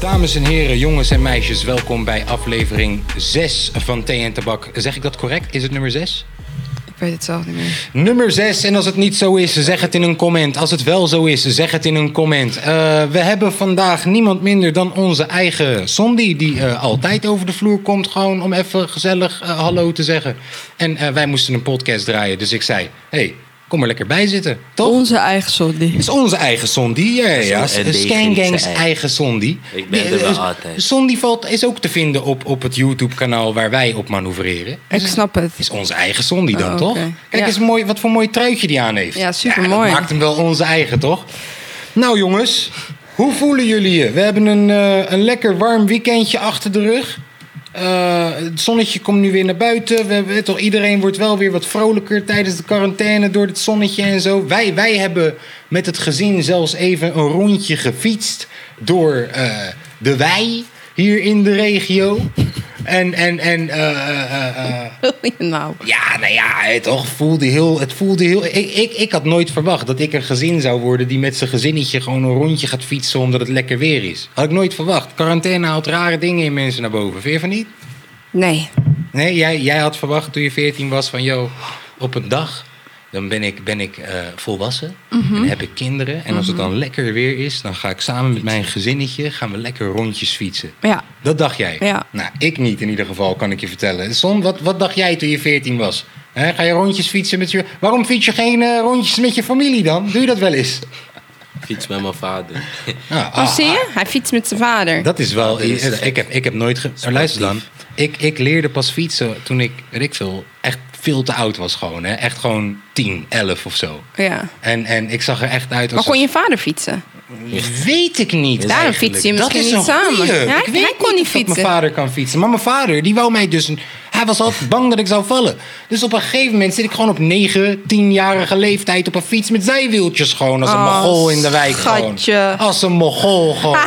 Dames en heren, jongens en meisjes, welkom bij aflevering 6 van Thee en Tabak. Zeg ik dat correct? Is het nummer 6? Ik weet het zelf niet meer. Nummer 6. En als het niet zo is, zeg het in een comment. Als het wel zo is, zeg het in een comment. Eh, we hebben vandaag niemand minder dan onze eigen Sondi. Die eh, altijd over de vloer komt. Gewoon om even gezellig eh, hallo te zeggen. En eh, wij moesten een podcast draaien. Dus ik zei: hey, kom er lekker bij zitten. Toch? Onze eigen Sondi. Het is onze eigen Sondi. Ja, ja, ja. Onze endemische Scangangs eigen. eigen Sondi. eh, Ik ben er wel altijd. Sondi valt, is ook te vinden op, op het YouTube-kanaal waar wij op manoeuvreren. Ik Dus snap het. is onze eigen Sondi dan, Oh, toch? oké. Kijk Ja. eens mooi, wat voor mooi truitje die aan heeft. Ja, dat supermooi. maakt hem wel onze eigen, toch? Nou jongens, hoe voelen jullie je? We hebben een, eh, een lekker warm weekendje achter de rug. Eh, het zonnetje komt nu weer naar buiten. We hebben, toch, iedereen wordt wel weer wat vrolijker tijdens de quarantaine door het zonnetje en zo. Wij, wij hebben met het gezin zelfs even een rondje gefietst door eh, de wei hier in de regio. En, en, en eh, eh, eh, eh, nou, ja, nou ja, het toch, voelde heel. Het voelde heel ik, ik, ik had nooit verwacht dat ik een gezin zou worden die met zijn gezinnetje gewoon een rondje gaat fietsen omdat het lekker weer is. Had ik nooit verwacht. Quarantaine haalt rare dingen in mensen naar boven. Vind je van niet? nee. Nee, jij, jij had verwacht toen je 14 was van joh, op een dag. Dan ben ik, ben ik eh, volwassen en heb ik kinderen. En als het dan lekker weer is, dan ga ik samen met mijn gezinnetje gaan we lekker rondjes fietsen. Ja, Dat dacht jij? Ja. Nou, ik niet in ieder geval, kan ik je vertellen. Son, wat, wat dacht jij toen je 14 was? Hè, ga je rondjes fietsen met je... Waarom fiets je geen eh, rondjes met je familie dan? Doe je dat wel eens? Fiets met mijn vader. Nou, oh, zie je? Hij fietst met zijn vader. ah. Dat is wel... Dat is gek. ik, heb, ik heb nooit... Ge... Maar Luister dan. Ik, ik leerde pas fietsen toen ik, weet ik veel, echt veel te oud was gewoon. Hè? Echt gewoon 10, 11 of zo. Ja. En, en ik zag er echt uit Maar als... kon je vader fietsen? Weet ik niet. Daarom eigenlijk. fietsen je Dat misschien is niet een samen. goeie. Ja, hij- ik weet hij kon niet of fietsen. mijn vader kan fietsen. Maar mijn vader, die wou mij dus... een- Hij was altijd bang dat ik zou vallen. Dus op een gegeven moment zit ik gewoon op 9, 10-jarige leeftijd... op een fiets met zijwieltjes gewoon. Als een Oh, mogol in de wijk schatje. gewoon. Als een mogol gewoon.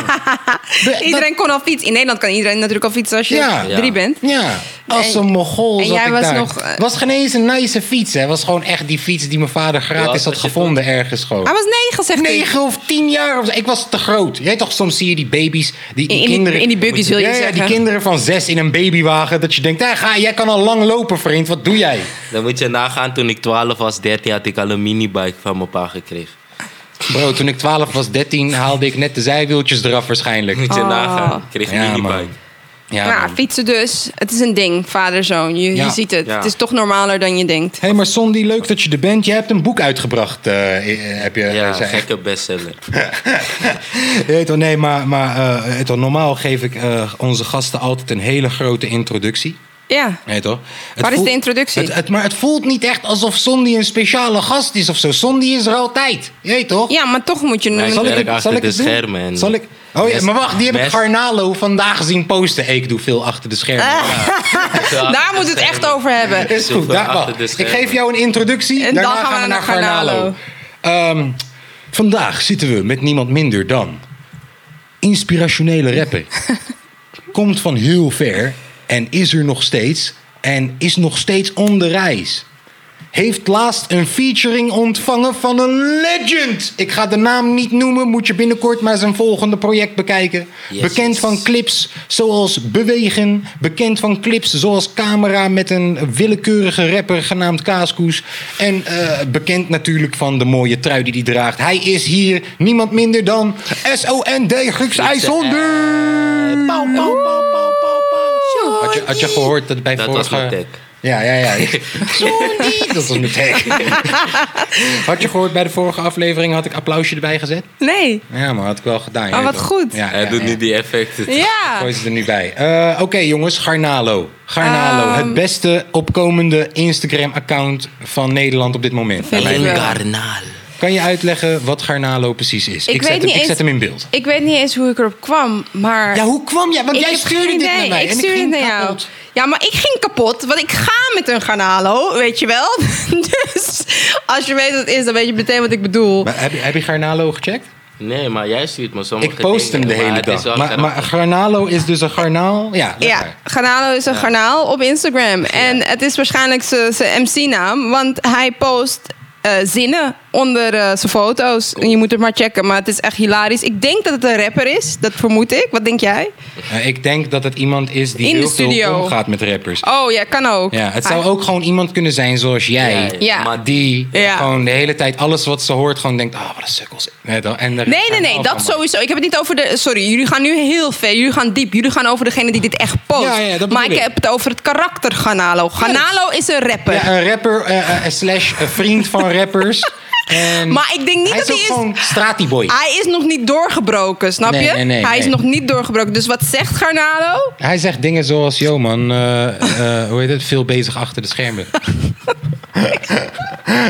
Dat- Iedereen kon al fietsen. In Nederland kan iedereen natuurlijk al fietsen als je Ja. drie Ja. bent. Ja, als En- een mogol en zat jij ik was daar. nog, eh, was geen eens een nice fiets. hè. Het was gewoon echt die fiets die mijn vader gratis was had je toen? gevonden ergens gewoon. Hij was negen, zegt hij. 9 of 10 jaar. Of zo. Ik was te groot. Jij toch, soms zie je die baby's. Die, die In- in die- kinderen, in die buggies wil je ja, ja, die zeggen. kinderen van 6 in een babywagen. Dat je denkt, "Hé, ga, jij kan al lang lopen, vriend. Wat doe jij? Dan moet je nagaan, toen ik 12 was, 13, had ik al een minibike van mijn pa gekregen. Bro, toen ik 12 was, 13, haalde ik net de zijwieltjes eraf waarschijnlijk. Moet je Oh. nagaan, ik kreeg een Ja, minibike. man. Ja, Nou, man. fietsen dus. Het is een ding, vader-zoon. Je, je Ja. ziet het. Ja. Het is toch normaler dan je denkt. Hé, hey, maar Sondi, leuk dat je er bent. Jij hebt een boek uitgebracht, eh, eh, heb je Ja, zei- gekke bestseller. Je weet wel, nee, maar, maar eh, je weet wel, normaal geef ik eh, onze gasten altijd een hele grote introductie. Ja. Nee, toch? Het Waar is de voelt- introductie? Het, het- maar het voelt niet echt alsof Sondi een speciale gast is of zo. Sondi is er altijd. Je weet toch? Ja, maar toch moet je... Nee, noemen. zal ik- achter de het doen? schermen en- Zal ik... Oh ja, Mes- maar wacht, die heb ik mes- Garnalo vandaag zien posten. Ik doe veel achter de schermen. Daar moet het echt over hebben. Is goed, Zoveel daar, achter wacht. de Ik schermen. geef jou een introductie En dan daarna gaan we naar Garnalo. Ehm, vandaag zitten we met niemand minder dan inspirationele rapper. Komt van heel ver en is er nog steeds en is nog steeds on the reis. Heeft laatst een featuring ontvangen van een legend. Ik ga de naam niet noemen, moet je binnenkort maar zijn volgende project bekijken. Yes. Bekend van clips zoals Bewegen. Bekend van clips zoals Camera met een willekeurige rapper genaamd Kaaskoes. En eh, bekend natuurlijk van de mooie trui die hij draagt. Hij is hier niemand minder dan S.O.N.D. Grieks IJsonder. Pauw, pauw, pauw, pauw, pauw, pauw. Had je, had je gehoord dat bij Dat vorige... was mijn tag. Ja, ja, ja. Sorry, dat was mijn tag. Had je gehoord bij de vorige aflevering had ik applausje erbij gezet? Nee. Ja, maar had ik wel gedaan. Oh, ja, wat toch? goed. Ja, Hij ja, doet ja. nu die effecten. Ja. Gooi ze er nu bij. Eh, Oké jongens, Garnalo. Garnalo, Ehm. het beste opkomende Instagram-account van Nederland op dit moment. Vind Bij ik mij. wel. Garnaal. Kan je uitleggen wat Garnalo precies is? Ik zet, weet hem, niet ik zet eens- hem in beeld. Ik weet niet eens hoe ik erop kwam, maar... Ja, hoe kwam jij? Want Ik jij heb stuurde geen dit idee. naar mij. Ik en stuurde ik het ging naar jou. kapot. Ja, maar ik ging kapot, want ik ga met een garnalo, weet je wel. dus als je weet wat het is, dan weet je meteen wat ik bedoel. Maar heb, je- heb je Garnalo gecheckt? Nee, maar jij stuurt me sommige Ik post hem dingen, de maar hele het is dag. wel Maar, grappig. maar Garnalo is dus een garnaal. Ja, leg ja, maar. garnalo is een garnaal op Instagram. En het is waarschijnlijk zijn MC-naam, want hij post... eh, eh, zinnen onder eh, zijn foto's. En je moet het maar checken, maar het is echt hilarisch. Ik denk dat het een rapper is, dat vermoed ik. Wat denk jij? Eh, ik denk dat het iemand is die In de heel veel studio. omgaat met rappers. Oh ja, kan ook. Ja, het zou Ah, ook gewoon iemand kunnen zijn zoals jij. Ja. Maar die, Die Ja. gewoon de hele tijd alles wat ze hoort gewoon denkt... Ah, wat een sukkels. Nee, dan- en er- Nee, nee, nee, dat sowieso. Ik heb het niet over de. Sorry, jullie gaan nu heel ver. Jullie gaan diep. Jullie gaan over degene die dit echt post. Ja, ja, dat maar ik bedoel ik. heb het over het karakter Ganalo. Ganalo is een rapper. Ja, een rapper eh, eh, slash een vriend van rappers. En Maar ik denk niet hij dat is ook hij is. Ah. gewoon stratieboy. Hij is nog niet doorgebroken, snap Nee, je? nee, nee, hij is nee. nog niet doorgebroken. Dus wat zegt Garnalo? Hij zegt dingen zoals, yo man, eh, eh, hoe heet het, veel bezig achter de schermen.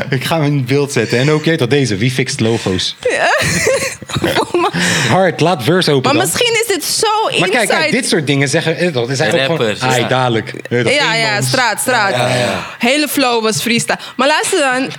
ik ga hem in beeld zetten. En ook je weet dat deze, wie fixt logo's? Hard, laat verse open Maar dan. misschien is dit zo inside. Maar kijk, kijk, dit soort dingen zeggen, eh, dat is eigenlijk Rappers, gewoon, ai, ja. dadelijk. Weet je dat, Ja, ja, eenmans. straat, straat. Hele flow was freestyle. Maar luister dan.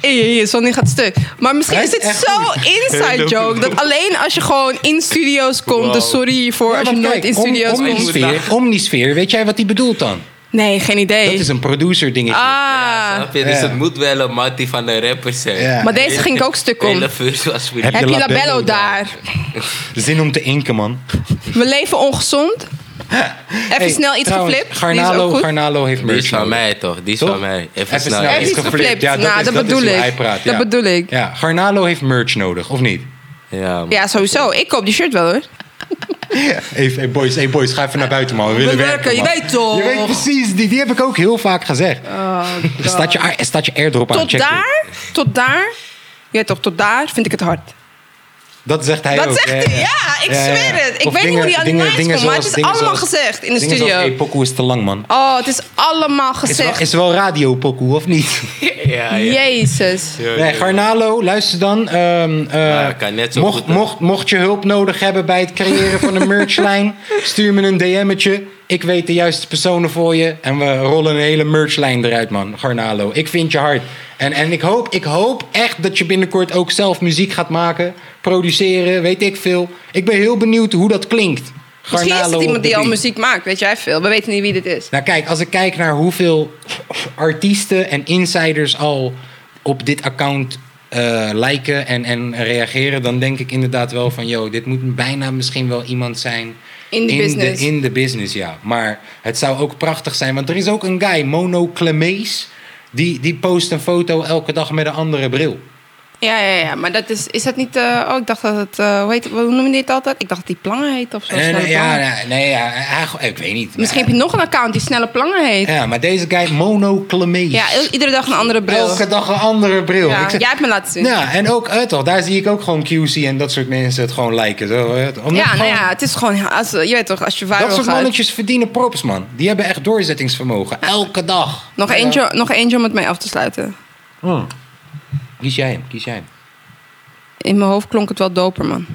Hey, hey, hey, Sonny gaat stuk. Maar misschien Hij is is dit echt zo goed. inside Hele joke. Dat alleen als je gewoon in studio's komt. Wow. Dus sorry voor Ja, als je want nooit kijk, in om- studio's om, die komt. sfeer, om die sfeer, weet jij wat die bedoelt dan? Nee, geen idee. Dat is een producer dingetje. Ah. snap je? Dus Ja. het moet wel een mattie van een rapper zijn. Ja. maar deze ging ik ook stuk De hele om. verse was voor Heb Heb je je labello labello daar? Zin om te inken, man. We leven ongezond. Even Hey, snel iets trouwens, geflipt. Die is ook Garnalo, goed. Garnalo heeft Die merch is van nodig. mij toch? Die is van Toch? mij. Even snel Hij is iets geflipt. geflipt. Ja, dat, Nou, is, dat dat is bedoel hoe ik. hij praat. Dat ja. bedoel ik. Ja, Garnalo heeft merch nodig, of niet? Ja, man. Ja, sowieso. Ik koop die shirt wel hoor. Even, hey boys, hey boys, ga even naar buiten, man. We willen werken, je man. weet toch? Oh, Je weet precies, die, die heb ik ook heel vaak gezegd. staat, je, a- staat je airdrop aan, Tot check dit. daar, tot daar. Ja, toch, tot daar vind ik het hard. Dat zegt hij Dat ook. zegt hij, ja, ik zweer het. Ik weet niet hoe die aan die meid komt, maar het is allemaal gezegd in Dingen de zoals, studio. hey, pokoe is te lang, man. Oh, het is allemaal Is wel, gezegd. is wel radio pokoe, of niet? ja, ja. Jezus. Ja, Nee, ja. Garnalo, luister dan. ehm, eh, Ja, kan net zo mocht, goed, eh, hè? mocht, mocht je hulp nodig hebben bij het creëren van een merchlijn, stuur me een DM'tje. Ik weet de juiste personen voor je. En we rollen een hele merchlijn eruit, man. Garnalo, ik vind je hard. En, en ik, hoop, ik hoop echt dat je binnenkort ook zelf muziek gaat maken, produceren, weet ik veel. Ik ben heel benieuwd hoe dat klinkt. Misschien Garnalo is het op de iemand die al beat. muziek maakt, weet jij veel. We weten niet wie dit is. Nou kijk, als ik kijk naar hoeveel artiesten en insiders al op dit account eh, liken en, en reageren, dan denk ik inderdaad wel van, yo, dit moet bijna misschien wel iemand zijn. In de business. in de business, ja. Maar het zou ook prachtig zijn, want er is ook een guy, Mono Clemees, die, die post een foto elke dag met een andere bril. Ja, ja, ja. Maar dat is, is dat niet... eh, oh, ik dacht dat het... eh, hoe, heet, hoe noem je dit altijd? Ik dacht dat die Plangen heet of zo. En, Snelle eh, ja, Plangen. nee, nee, ja, hij- ik weet niet. Misschien heb je nog een account die Snelle Plangen heet. Ja, maar deze guy, Mono Clemees. Ja, i- iedere dag een andere bril. elke dag een andere bril. Ja, Ik zeg- jij hebt me laten zien. Ja, en ook, eh, toch, daar zie ik ook gewoon QC en dat soort mensen het gewoon lijken. Zo, eh, omdat Ja, nou gewoon- ja, het is gewoon... Als, eh, je weet toch, als je dat viral soort gaat... mannetjes verdienen props, man. Die hebben echt doorzettingsvermogen. Elke dag. Nog Ja. eentje, nog eentje om het mee af te sluiten. Hmm. Kies jij hem, kies jij hem. In mijn hoofd klonk het wel doper, man.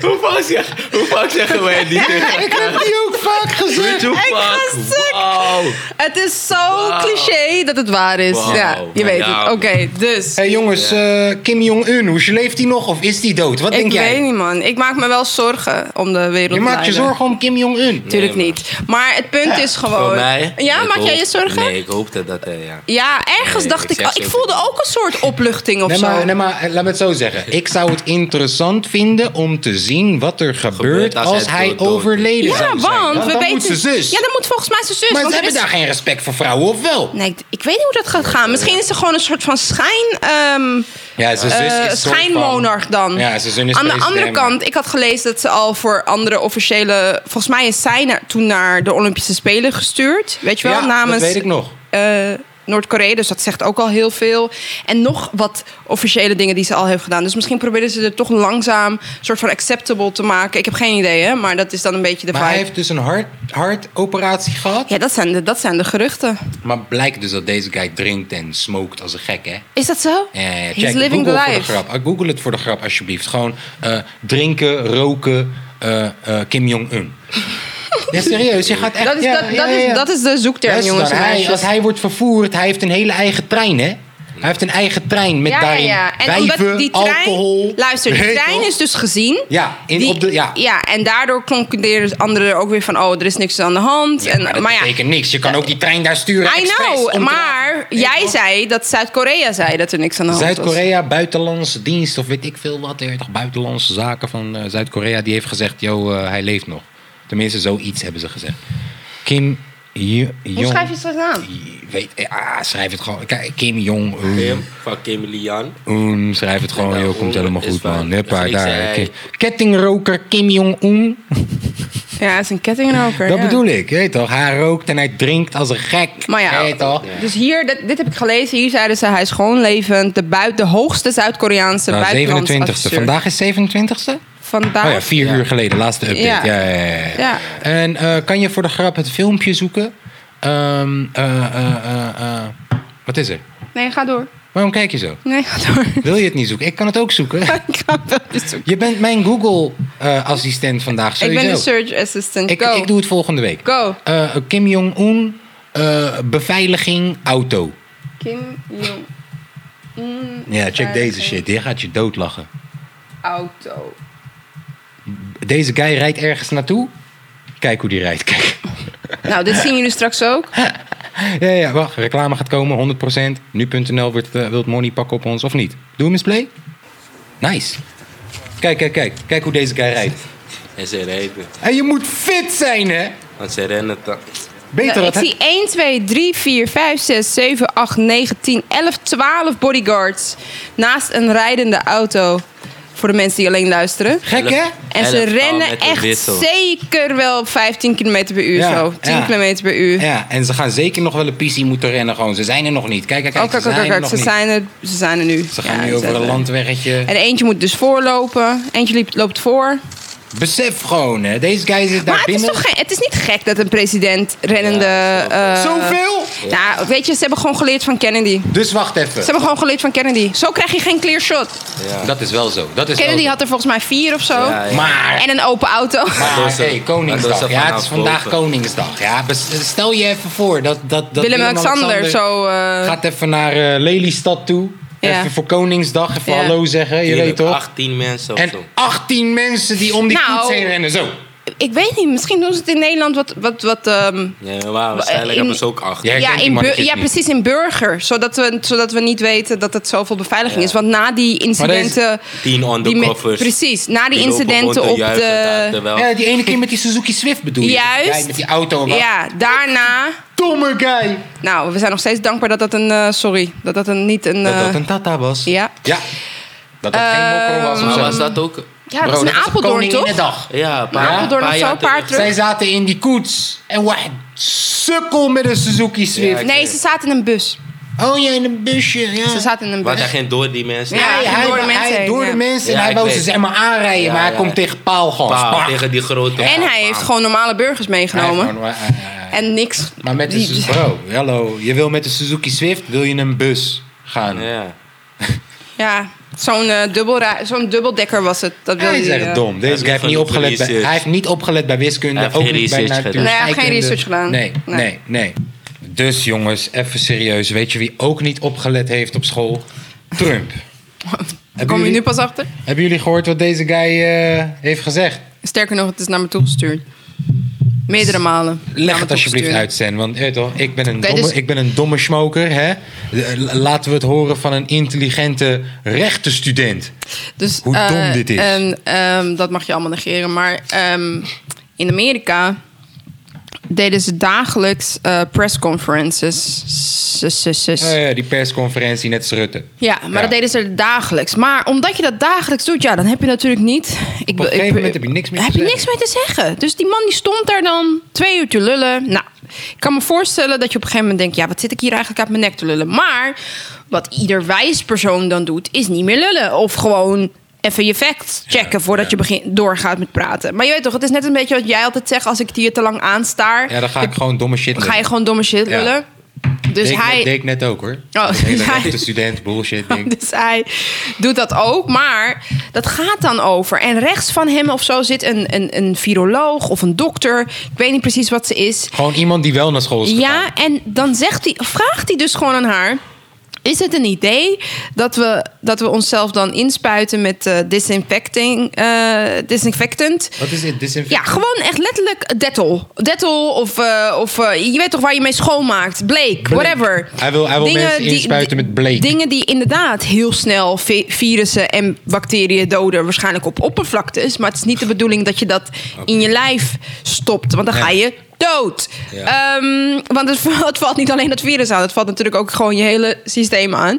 Hoe vaak, zeg, hoe vaak zeggen wij die tegen Ik heb die ook vaak gezegd. Hoe Ik ga vaak? stuk. Wauw. Het is zo Wauw. cliché dat het waar is. Wauw. Ja, je weet Ja. het. Oké, dus. Nou hey, jongens, eh, Kim Jong-un, hoe leeft hij nog of is hij dood? Wat ik denk jij? weet niet, man. Ik maak me wel zorgen om de wereld. Je maakt je leider. zorgen om Kim Jong-un. Natuurlijk Nee, man. niet. Maar het punt is gewoon. Voor mij? Ja, Ik maak jij hoop- je zorgen? Nee, ik hoopte dat hij, ja. Ja, ergens Nee, dacht ik ik. zeg oh, ik zo- voelde ook een soort opluchting of Nee zo. maar, nee, maar eh, laat me het zo zeggen. Ik zou het interessant vinden om te zien wat er gebeurt, Gebeurt als als, hij hij dood- dood is. overleden ja, zou want, zijn. we dan weten. moet zijn zus. Ja, dan moet volgens mij zijn zus. Maar want ze er hebben is- daar geen respect voor vrouwen, of wel? Nee, ik, ik weet niet hoe dat gaat gaan. Misschien is er gewoon een soort van schijn. ehm, Ja, zijn zus is eh, soort van- schijnmonarch dan. Ja, zijn zus is Aan de president, andere maar- kant, ik had gelezen dat ze al voor andere officiële... Volgens mij is zij na- toen naar de Olympische Spelen gestuurd. Weet je wel, Ja, dat namens weet ik nog. eh, Noord-Korea. Dus dat zegt ook al heel veel. En nog wat officiële dingen die ze al heeft gedaan. Dus misschien proberen ze het toch langzaam een soort van acceptable te maken. Ik heb geen idee, hè. Maar dat is dan een beetje de Maar hij vibe. heeft dus een hart, hartoperatie gehad. Ja, dat zijn, de, dat zijn de geruchten. Maar blijkt dus dat deze guy drinkt en smoked als een gek, hè? Is dat zo? Ja, ja, ja, He's check. living Google voor the de life. grap. Ah, Google het voor de grap, alsjeblieft. Gewoon eh, drinken, roken, eh, eh, Kim Jong-un. Ja, serieus. Je gaat echt... Dat is, ja, dat, ja, dat ja, ja. is, dat is de zoekterm, Luister jongens en dan, hij, meisjes. als hij wordt vervoerd, hij heeft een hele eigen trein, hè? Hij heeft een eigen trein met ja, ja, daarin ja. En wijven, omdat die trein, alcohol. Luister, die weet je trein wel. is dus gezien. Ja, in, Die- op de, ja. en daardoor concluderen anderen ook weer van... oh, er is niks aan de hand. en, maar Nou, dat maar ja, eh, betekent niks. Je kan ook die trein daar sturen. I expres om te know, maar laten- jij zei dat Zuid-Korea zei Oh, dat er niks aan de hand was. Zuid-Korea, buitenlandse dienst of weet ik veel wat. Er toch buitenlandse zaken van eh, Zuid-Korea. Die heeft gezegd, yo, eh, hij leeft nog. Tenminste, zoiets hebben ze gezegd. Kim Jong... Hoe schrijf je het nou? aan? Weet, eh, ah, schrijf het gewoon. Kijk, Kim Jong-un. Kim van Kim Lian. Un, schrijf het gewoon, Ja, joh, komt Un helemaal is goed, waar. man. Dus Huppa, ik daar. zei- Ki- Kettingroker Kim Jong-un. Ja, het is een kettingroker. Dat ja. bedoel ik, je weet toch? Hij rookt en hij drinkt als een gek. Maar je ja, weet toch? dus hier, dit, dit heb ik gelezen. Hier zeiden ze, hij is gewoon levend. De, buit, de hoogste Zuid-Koreaanse Nou, buitenlandse 27e. adviseur. Vandaag is 27e? Vandaag? Oh ja, vier uur geleden, laatste update. Ja. Ja. Ja, ja, ja, Ja. En eh, kan je voor de grap het filmpje zoeken? Ehm, eh, eh, eh, eh, Wat is er? Nee, ga door. Waarom kijk je zo? Nee, ga door. Wil je het niet zoeken? Ik kan het ook zoeken. ik ga wel eens zoeken. Je bent mijn Google-assistent vandaag, Ik sowieso. ben de search assistant. Ik, Go. ik doe het volgende week. Go. Eh, Kim Jong-un, eh, beveiliging, auto. Kim Jong-un. Ja, check deze beveiliging, shit. Dit gaat je doodlachen. Auto. Deze guy rijdt ergens naartoe. Kijk hoe die rijdt. Kijk. Nou, dit zien jullie straks ook. Ja, ja, wacht. Reclame gaat komen, 100%. Nu.nl wordt, eh, wil het money pakken op ons, of niet? Doe hem eens play. Nice. Kijk, kijk, kijk. Kijk hoe deze guy rijdt. En ze rijden. En je moet fit zijn, hè? Want ze rennen dan. Beter Nou, ik dat hij- zie 1, 2, 3, 4, 5, 6, 7, 8, 9, 10, 11, 12 bodyguards naast een rijdende auto. Voor de mensen die alleen luisteren. Gek, hè? En ze Elf taal rennen met een echt wissel. zeker wel 15 km per uur Ja, zo. 10 ja. km per uur. Ja, en ze gaan zeker nog wel een pissie moeten rennen gewoon. Ze zijn er nog niet. Kijk, kijk, kijk. Oh, kijk, ze kijk, zijn kijk, er kijk, nog ze niet. zijn er, ze zijn er nu. Ze gaan Ja, nu ze over zijn een er. landweggetje. En eentje moet dus voorlopen. Eentje liep- loopt voor. Besef gewoon, hè. Deze guy zit daar maar het is, binnen. toch geen, het is niet gek dat een president rennende... Ja, eh, Zoveel? nou, weet je, ze hebben gewoon geleerd van Kennedy. Dus wacht even. Ze hebben gewoon geleerd van Kennedy. Zo krijg je geen clear shot. Ja. Dat is wel zo. Dat is wel Kennedy zo. had er volgens mij vier of zo. Ja, ja. Maar... En een open auto. Maar door ze- hey, maar Koningsdag. door ze Ja, vanaf het is vandaag boven. Koningsdag. Ja, bes- stel je even voor dat... dat, dat Willem-Alexander zo... eh, Gaat even naar eh, Lelystad toe. Ja. Even voor Koningsdag. Even Ja. hallo zeggen. Je weet Tuurlijk, toch? 18 mensen of En zo. 18 mensen die om die Nou. fiets heen rennen. Zo. Ik weet niet, misschien doen ze het in Nederland wat... wat, wat ehm, Ja, maar waarschijnlijk in- hebben ze ook 18. Jij ja, kent die in bur- mannetjes ja, niet. precies, in burger. Zodat we, zodat we niet weten dat het zoveel beveiliging Ja. is. Want na die incidenten... Tien die met- undercovers. precies, na die Die lopen incidenten rond op te juichen daar, de... terwijl- Ja, die ene keer met die Suzuki Swift bedoel je? Juist. Ja, met die auto. en wat. Ja, daarna... Domme guy. Nou, we zijn nog steeds dankbaar dat dat een... eh, sorry, dat dat een, niet een... Dat eh, dat een Tata was. ja. Ja. Dat dat geen mokro was of Maar zo. was dat ook... Ja, Bro, dat is een de Ehm, Apeldoorn, toch? Koninginnedag. Ja, een Maar paar, Apeldoorn paar of jaar zo, paar terug. terug. Zij zaten in die koets. En wacht, sukkel met een Suzuki Swift. Ja, Nee, ze zaten in een bus. Oh ja, in een busje. Ja. Ze zaten in een Want bus. hij ging door die mensen. Ja. hij, hij, door de hij- mensen heen, door de ja. mensen. en Ja, hij ik wou ze weet. zeg maar aanrijden, Ja, maar hij ja, komt ja. tegen paal gewoon. Paal, Spak. tegen die grote. En hij heeft gewoon normale burgers Hij heeft meegenomen. gewoon- ja, ja, ja. En niks. eh. Maar met de die- Suzuki... Bro, hallo. Je wil met de Suzuki Swift, wil je in een bus gaan. Ja. Ja, zo'n eh, dubbelra- zo'n dubbeldekker was het. Dat wilde Hij is hij, echt eh, dom. Deze doet guy heeft niet genoeg opgelet bij, research. hij heeft niet opgelet bij wiskunde. Hij heeft ook geen niet bij research gedaan. natuurscheikunde. Nee, hij heeft geen research gedaan. Nee, nee, Nee. nee, Dus jongens, even serieus. Weet je wie ook niet opgelet heeft op school? Trump. Daar hebben, kom je nu jullie, pas achter? hebben jullie gehoord wat deze guy eh, heeft gezegd? Sterker nog, het is naar me toegestuurd. Meerdere malen. Leg Naar me het alsjeblieft toegestuurd. uit, Sen. Want eh, toch, ik, ben een Oké, domme, dus- ik ben een domme smoker. Hè? Eh, Laten we het horen van een intelligente rechtenstudent. Dus, Hoe eh, dom dit is. En, ehm, dat mag je allemaal negeren. Maar ehm, in Amerika deden ze dagelijks eh, press conferences. Sus, sus, sus. Oh ja, die persconferentie, net als Rutte. Ja, maar Ja. dat deden ze dagelijks. Maar omdat je dat dagelijks doet, ja, dan heb je natuurlijk niet. Op Ik, een ik- gegeven moment heb je niks meer te heb je zeggen. niks meer te zeggen. Dus die man die stond daar dan twee uur te lullen. Nou, ik kan me voorstellen dat je op een gegeven moment denkt: ja, wat zit ik hier eigenlijk uit mijn nek te lullen? Maar wat ieder wijs persoon dan doet, is niet meer lullen. Of gewoon even je facts checken voordat je begin, doorgaat met praten. Maar je weet toch, het is net een beetje wat jij altijd zegt: als ik het hier te lang aanstaar, Ja, dan ga ik gewoon domme shit ga je gewoon domme shit Ja. lullen. Dus deed, ik hij. net, deed ik net ook hoor. Oh, Dat hele ja. rechtenstudent, bullshit ding. Dus hij doet dat ook. Maar dat gaat dan over. En rechts van hem of zo zit een, een, een viroloog of een dokter. Ik weet niet precies wat ze is. Gewoon iemand die wel naar school is gegaan. Ja, en dan zegt hij, vraagt hij dus gewoon aan haar. Is het een idee dat we, dat we onszelf dan inspuiten met eh, disinfecting, eh, disinfectant? Wat is dit? Ja, gewoon echt letterlijk Dettol. Dettol of, eh, of eh, je weet toch waar je mee schoonmaakt. Bleek, Bleek. whatever. Hij wil- hij wil mensen inspuiten met bleek. Dingen die inderdaad heel snel vi- virussen en bacteriën doden. Waarschijnlijk op oppervlaktes. Maar het is niet de bedoeling dat je dat in je lijf stopt. Want dan ga Nee. je dood. Ja. Ehm, want het, va- het valt niet alleen het virus aan. Het valt natuurlijk ook gewoon je hele systeem aan.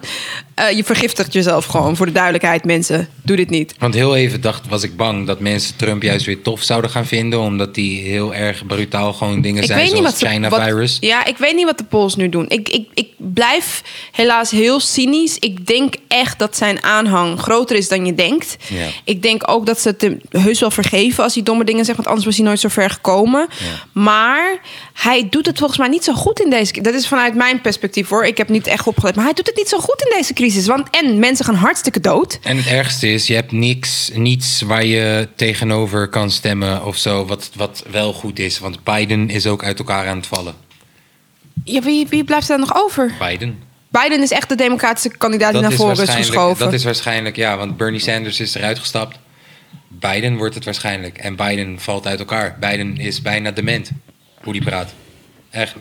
Eh, je vergiftigt jezelf gewoon. Voor de duidelijkheid mensen, doe dit niet. Want heel even dacht, was ik bang dat mensen Trump juist weer tof zouden gaan vinden. Omdat die heel erg brutaal gewoon dingen zijn zoals de- China wat- virus. Ja, ik weet niet wat de Pols nu doen. Ik, ik, ik blijf helaas heel cynisch. Ik denk echt dat zijn aanhang groter is dan je denkt. Ja. Ik denk ook dat ze het hem heus wel vergeven als hij domme dingen zegt. Want anders was hij nooit zo ver gekomen. Maar hij doet het volgens mij niet zo goed in deze... Dat is vanuit mijn perspectief hoor. Ik heb niet echt opgelet. Maar hij doet het niet zo goed in deze crisis. Want en mensen gaan hartstikke dood. En het ergste is, je hebt niks, niets waar je tegenover kan stemmen of zo. Wat, wat wel goed is, want Biden is ook uit elkaar aan het vallen. Ja, wie, wie blijft daar nog over? Biden. Biden is echt de democratische kandidaat die naar voren is waarschijnlijk- geschoven. Dat is waarschijnlijk, ja, want Bernie Sanders is eruit gestapt. Biden wordt het waarschijnlijk. En Biden valt uit elkaar. Biden is bijna dement, hoe die praat. Echt.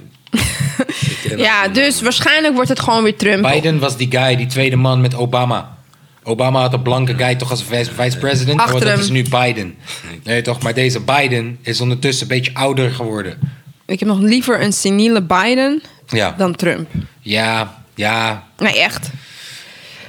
Ja, dus waarschijnlijk wordt het gewoon weer Trump. Biden was die guy, die tweede man met Obama. Obama had een blanke guy toch als vice- vice-president? Achter Oh, dat hem. is nu Biden. Nee toch, maar deze Biden is ondertussen een beetje ouder geworden. Ik heb nog liever een seniele Biden Ja, dan Trump. ja, ja, Nee, echt.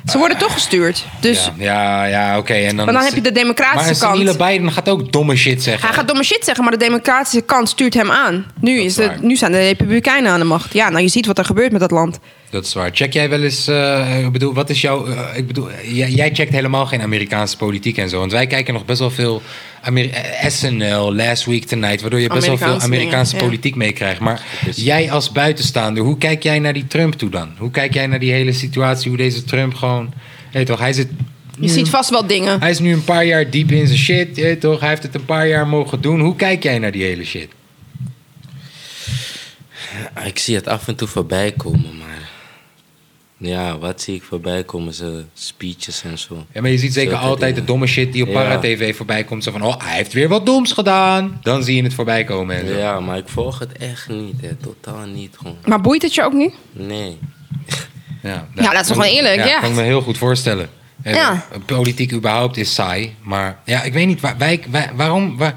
Ze worden toch gestuurd. Dus ja, ja, ja oké. En dan, Maar dan is- heb je de Maar democratische een kant. seniele Biden gaat ook domme shit zeggen. hij gaat domme shit zeggen, maar de democratische kant stuurt hem aan. Nu, Dat is is de, waar. nu zijn de republikeinen aan de macht. Ja, nou je ziet wat er gebeurt met dat land. Dat is waar. Check jij wel eens, eh, ik bedoel, wat is jouw, eh, ik bedoel, jij, jij checkt helemaal geen Amerikaanse politiek en zo. Want wij kijken nog best wel veel Ameri- eh, SNL, Last Week Tonight, waardoor je best wel Amerikaanse veel Amerikaanse dingen, ja. politiek meekrijgt. Maar jij als buitenstaander, hoe kijk jij naar die Trump toe dan? Hoe kijk jij naar die hele situatie, hoe deze Trump gewoon, hé toch, hij zit... Je ziet vast wel dingen. Hij is nu een paar jaar diep in zijn shit, je weet toch? Hij heeft het een paar jaar mogen doen. Hoe kijk jij naar die hele shit? Ik zie het af en toe voorbij komen, maar... Ja, wat zie ik voorbij komen? Zijn speeches en zo. Ja, maar je ziet zeker Zulke altijd de dingen. domme shit die op Ja. Paratv voorbij komt. Zo van, oh, hij heeft weer wat doms gedaan. Dan zie je het voorbij komen en zo. Ja, maar ik volg het echt niet, hè. Totaal niet, gewoon. Maar boeit het je ook niet? Nee. Ja, Ja, dat is toch wel eerlijk, ja. Dat kan ik me heel goed voorstellen. Eh, Ja. Politiek überhaupt is saai. Maar ja, ik weet niet, waar, wij, wij- waarom waar-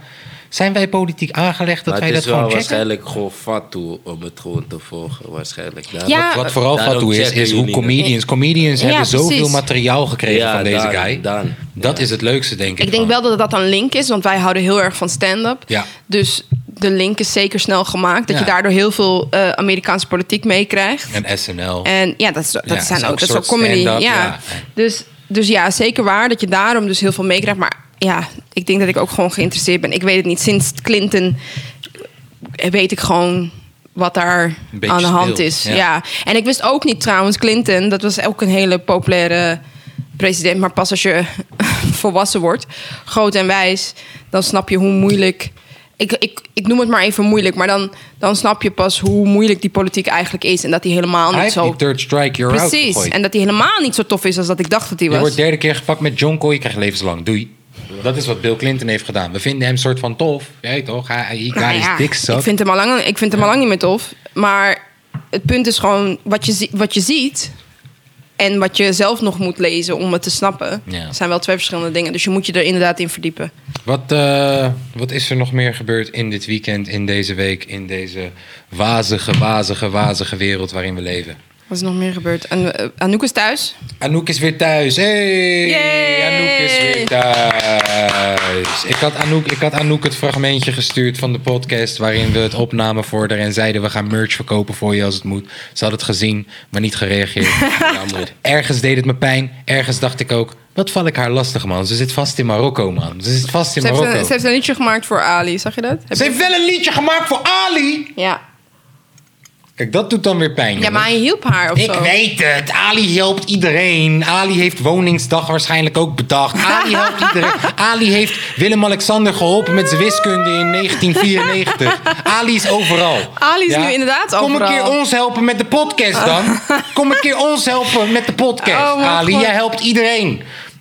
zijn wij politiek aangelegd dat maar wij het dat is wel gewoon checken? waarschijnlijk gewoon fat toe om het gewoon te volgen, waarschijnlijk. Daar- Ja. Wat, wat vooral Daarom gaat toe is, checken is hoe jullie het. comedians... Comedians Ja, hebben zoveel precies. materiaal gekregen Ja, van deze dan- guy. dan. dat Ja. is het leukste, denk ik. Ik denk gewoon. wel dat dat een link is, want wij houden heel erg van stand-up. Ja. Dus de link is zeker snel gemaakt. Dat Ja. je daardoor heel veel eh, Amerikaanse politiek meekrijgt. En SNL. En ja, dat is, dat Ja, het zijn is ook, ook dat is een ook soort comedy. Ja. stand-up, ja. Dus, dus ja, zeker waar dat je daarom dus heel veel meekrijgt. Maar ja, ik denk dat ik ook gewoon geïnteresseerd ben. Ik weet het niet. Sinds Clinton eh, weet ik gewoon wat daar beetje aan de hand stil, is. ja. Ja. En ik wist ook niet trouwens, Clinton, dat was ook een hele populaire president. Maar pas als je volwassen wordt, groot en wijs, dan snap je hoe moeilijk. Ik, ik, ik noem het maar even moeilijk, maar dan, dan snap je pas hoe moeilijk die politiek eigenlijk is. En dat die helemaal hij niet heeft zo. die third strike, you're out Precies. gegooid. En dat hij helemaal niet zo tof is als dat ik dacht dat hij Je was. wordt derde keer gepakt met John Coy, je krijgt levenslang. Doei. Dat is wat Bill Clinton heeft gedaan. We vinden hem soort van tof. Jij toch? Hij, he got Nou his ja, dick sucked. ik vind hem al lang, ik vind hem al lang niet meer tof. Maar het punt is gewoon wat je, zie- wat je ziet en wat je zelf nog moet lezen om het te snappen, Ja. zijn wel twee verschillende dingen. Dus je moet je er inderdaad in verdiepen. Wat, eh, wat is er nog meer gebeurd in dit weekend, in deze week, in deze wazige, wazige, wazige wereld waarin we leven? Wat is er nog meer gebeurd? En, eh, Anouk is thuis. Anouk is weer thuis. Hey! Yay! Anouk is weer thuis. Ik had, Anouk, ik had Anouk het fragmentje gestuurd van de podcast waarin we het opnamen voor haar en zeiden we gaan merch verkopen voor je als het moet. Ze had het gezien, maar niet gereageerd. Jammer. Ergens deed het me pijn. Ergens dacht ik ook, wat val ik haar lastig man. Ze zit vast in Marokko man. Ze zit vast in Ze heeft, Marokko. een, ze heeft een liedje gemaakt voor Ali, zag je dat? Heb Ze je- heeft wel een liedje gemaakt voor Ali. Ja. Kijk, dat doet dan weer pijn. Ja, jongen. maar hij hielp haar of Ik zo. weet het. Ali helpt iedereen. Ali heeft Woningsdag waarschijnlijk ook bedacht. Ali helpt iedereen. Ali heeft Willem-Alexander geholpen met zijn wiskunde in 1994. Ali is overal. Ali is nu inderdaad Kom een overal. keer ons helpen met de podcast dan. Kom een keer ons helpen met de podcast. Oh, mijn Ali, God. jij helpt iedereen.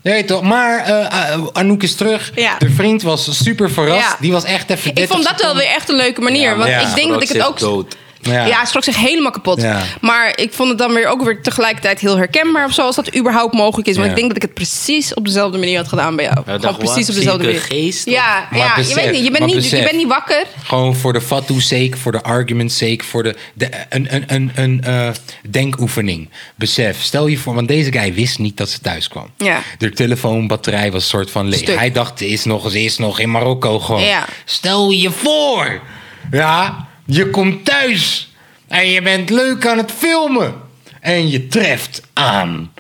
Je Weet toch? Maar eh, eh, Anouk is terug. Ja. De vriend was super verrast. Ja. Die was echt even Ik 30 vond dat wel weer echt een leuke manier. want ja. ik denk dat ik het ook... Dood. seconden. Ja, hij schrok zich helemaal kapot. Ja. Maar ik vond het dan weer ook weer tegelijkertijd heel herkenbaar of zo, als dat überhaupt mogelijk is. Want Ja. ik denk dat ik het precies op dezelfde manier had gedaan bij jou. dacht, Gewoon precies wat, op dezelfde zieke manier. geest? ja, Maar ja je besef, weet niet, je bent maar niet, besef. je bent niet wakker. Gewoon voor de fatsoen sake, voor de argument sake, voor de, de, een, een, een, een eh, denkoefening. Besef, stel je voor, want deze guy wist niet dat ze thuis kwam. Ja. De telefoonbatterij was soort van leeg. Stuk. Hij dacht, ze is nog, ze is nog in Marokko gewoon. Ja. Stel je voor, ja, je komt thuis en je bent leuk aan het filmen. En je treft aan.